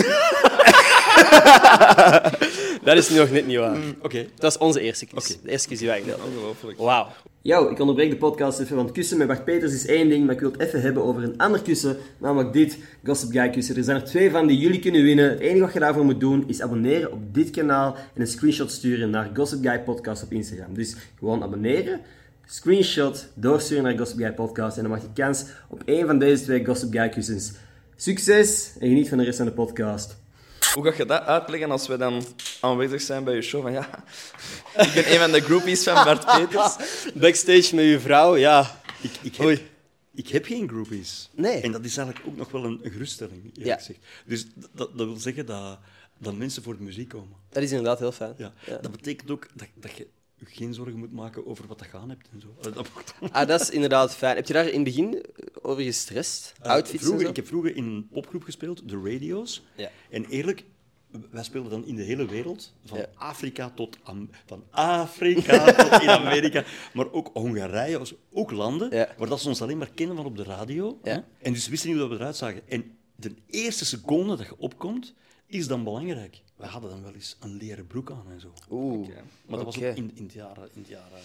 dat is nog net niet waar. Oké. Dat is onze eerste kus. De eerste kus die wij gedeeld hebben.
Ongelooflijk.
Wauw. Yo, ik onderbreek de podcast even, want kussen met Bart Peters is één ding, maar ik wil het even hebben over een ander kussen, namelijk dit, Gossip Guy kussen. Er zijn er twee van die jullie kunnen winnen. Het enige wat je daarvoor moet doen, is abonneren op dit kanaal en een screenshot sturen naar Gossip Guy Podcast op Instagram. Dus gewoon abonneren, Screenshot, doorsturen naar Gossip Guy Podcast en dan maak je kans op één van deze twee Gossip Guy kussens. Succes en geniet van de rest van de podcast.
Hoe ga je dat uitleggen als we dan aanwezig zijn bij je show? Van, ja, (laughs) ik ben een van de groupies van Bart Peters.
Backstage met uw vrouw, ja.
Ik, ik, heb, ik heb geen groupies.
Nee.
En dat is eigenlijk ook nog wel een, een geruststelling, eerlijk
Ja.
gezegd. Dus d- dat, dat wil zeggen dat, dat mensen voor de muziek komen.
Dat is inderdaad heel fijn.
Ja. Dat betekent ook dat, dat je je geen zorgen moet maken over wat je gaan hebt en zo. Allee, Dat wordt
Ah, dat is inderdaad fijn. Heb je daar in het begin over gestrest? Outfits en
Eh, vroeger,
zo?
Ik heb vroeger in een popgroep gespeeld, de Radio's.
Ja.
En eerlijk, wij speelden dan in de hele wereld. Van
Ja.
Afrika tot Am- van Afrika (laughs) tot in Amerika. Maar ook Hongarije, was ook landen
Ja.
waar dat ze ons alleen maar kennen van op de radio.
Ja.
hè. En dus ze wisten niet hoe dat we eruit zagen. En de eerste seconde dat je opkomt, is dan belangrijk. We hadden dan wel eens een leren broek aan en zo.
Oeh,
Maar
oké.
dat was ook in, in, de jaren, in de jaren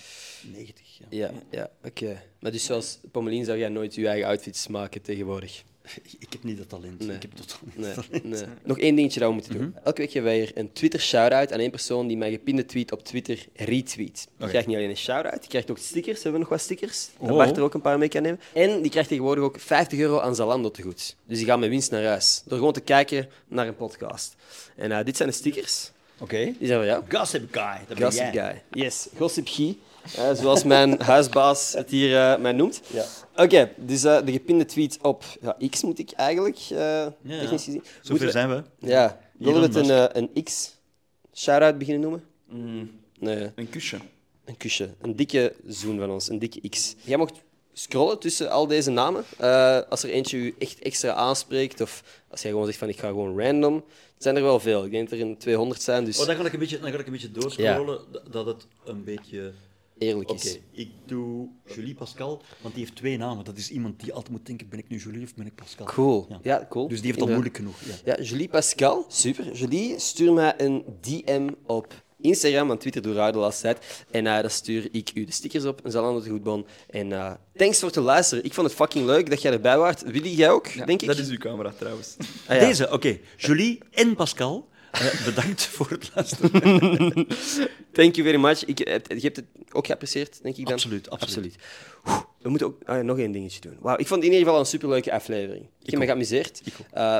90. Ja.
Ja, ja oké. Maar dus zoals Pommelien zou jij nooit je eigen outfits maken tegenwoordig?
Ik, ik heb niet dat talent. Ik heb totaal niet
Nee,
(laughs) dat talent.
nee. Nog één dingetje dat we moeten
Mhm.
doen. Elke week geven wij hier een Twitter-shout-out aan één persoon die mijn gepinde tweet op Twitter retweet. Je krijgt niet alleen een shout-out, je krijgt ook stickers. We hebben nog wat stickers. Dat
Oh.
Bart er ook een paar mee kan nemen. En die krijgt tegenwoordig ook 50 euro aan Zalando te goed. Dus die gaan met winst naar huis. Door gewoon te kijken naar een podcast. En eh, dit zijn de stickers.
Oké.
Die zijn van jou.
Gossip Guy. Dat ben
Gossip
jij.
Guy. Yes, Gossip Guy. eh, zoals mijn (laughs) huisbaas het hier eh, mij noemt.
Ja.
Oké, dus eh, de gepinde tweet op ja, X moet ik eigenlijk, eh, technisch gezien. Moeten
Zover zijn we.
we, Ja, willen we het
Elon
een, eh, een X-shout-out beginnen noemen? Mm. Nee,
Een kusje.
een kusje. Een dikke zoen van ons, een dikke X. Jij mocht scrollen tussen al deze namen. Eh, als er eentje u echt extra aanspreekt, of als jij gewoon zegt van ik ga gewoon random. Het zijn er wel veel. Ik denk dat er een 200 zijn, dus
Oh, dan ga ik een beetje, dan ga ik een beetje doorscrollen da- dat het een beetje.
eerlijk
Oké,
is.
ik doe Julie Pascal, want die heeft twee namen. Dat is iemand die altijd moet denken: ben ik nu Julie of ben ik Pascal?
Cool. Ja, cool.
Dus die heeft al
Inderdaad.
moeilijk genoeg. Ja.
Ja, Julie Pascal, super. Julie, stuur mij een DM op Instagram, want Twitter doet raar de laatste tijd. En eh, dan stuur ik u de stickers op, een Zalando de Goedbon. En eh, thanks voor het luisteren. Ik vond het fucking leuk dat jij erbij waart. Willy, jij ook, denk ik?
Dat is uw camera trouwens.
Ah, ja.
Deze, oké. Julie en Pascal, eh, bedankt voor het luisteren.
Thank you very much. Ik, eh, je hebt het ook geapprecieerd, denk ik dan?
Absoluut, absoluut.
Oeh, We moeten ook ah ja, nog één dingetje doen. Wauw, ik vond het in ieder geval een superleuke aflevering. Ik heb me geamuseerd. Eh,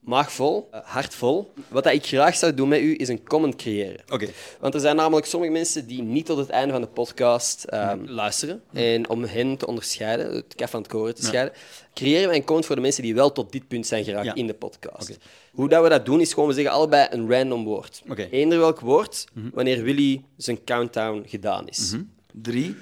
maagvol, eh, hartvol. Wat dat ik graag zou doen met u, is een comment creëren.
Oké.
Want er zijn namelijk sommige mensen die niet tot het einde van de podcast ehm, luisteren. En om hen te onderscheiden, het kaf van het koren te scheiden, creëren wij een code voor de mensen die wel tot dit punt zijn geraakt
Ja.
in de podcast. Hoe dat we dat doen, is gewoon we zeggen allebei een random woord.
Oké. Mhm.
Eender welk woord, wanneer Willy zijn countdown gedaan is.
Drie,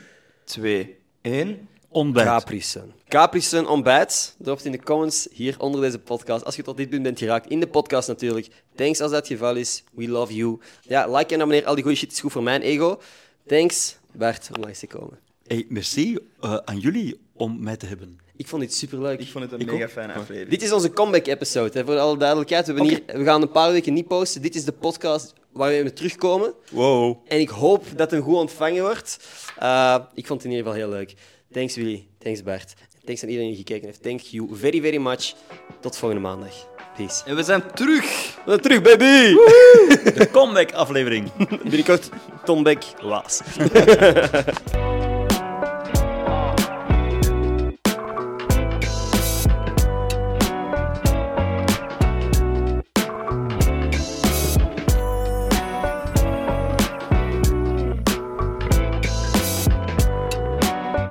twee, één.
Ontbijt.
Capricen. Capricen ontbijt. Drop het in de comments hier onder deze podcast. Als je tot dit punt bent geraakt, in de podcast natuurlijk. Thanks als dat het geval is. We love you. Ja, like en abonneer. Al die goede shit is goed voor mijn ego. Thanks, Bart, om langs te komen.
Hey, merci eh, aan jullie om mij te hebben.
Ik vond dit superleuk.
Ik vond het een mega fijne aflevering.
Dit is onze comeback-episode, hè, voor alle duidelijkheid. We, hebben hier, we gaan een paar weken niet posten. Dit is de podcast waar we mee terugkomen.
Wow.
En ik hoop dat het goed ontvangen wordt. Eh, ik vond het in ieder geval heel leuk. Thanks Willy, thanks Bart. Thanks aan iedereen die gekeken heeft. Thank you very, very much. Tot volgende maandag. Peace.
En we zijn terug.
We zijn terug, baby!
De comeback aflevering.
Binnenkort Tom Beck, Laas.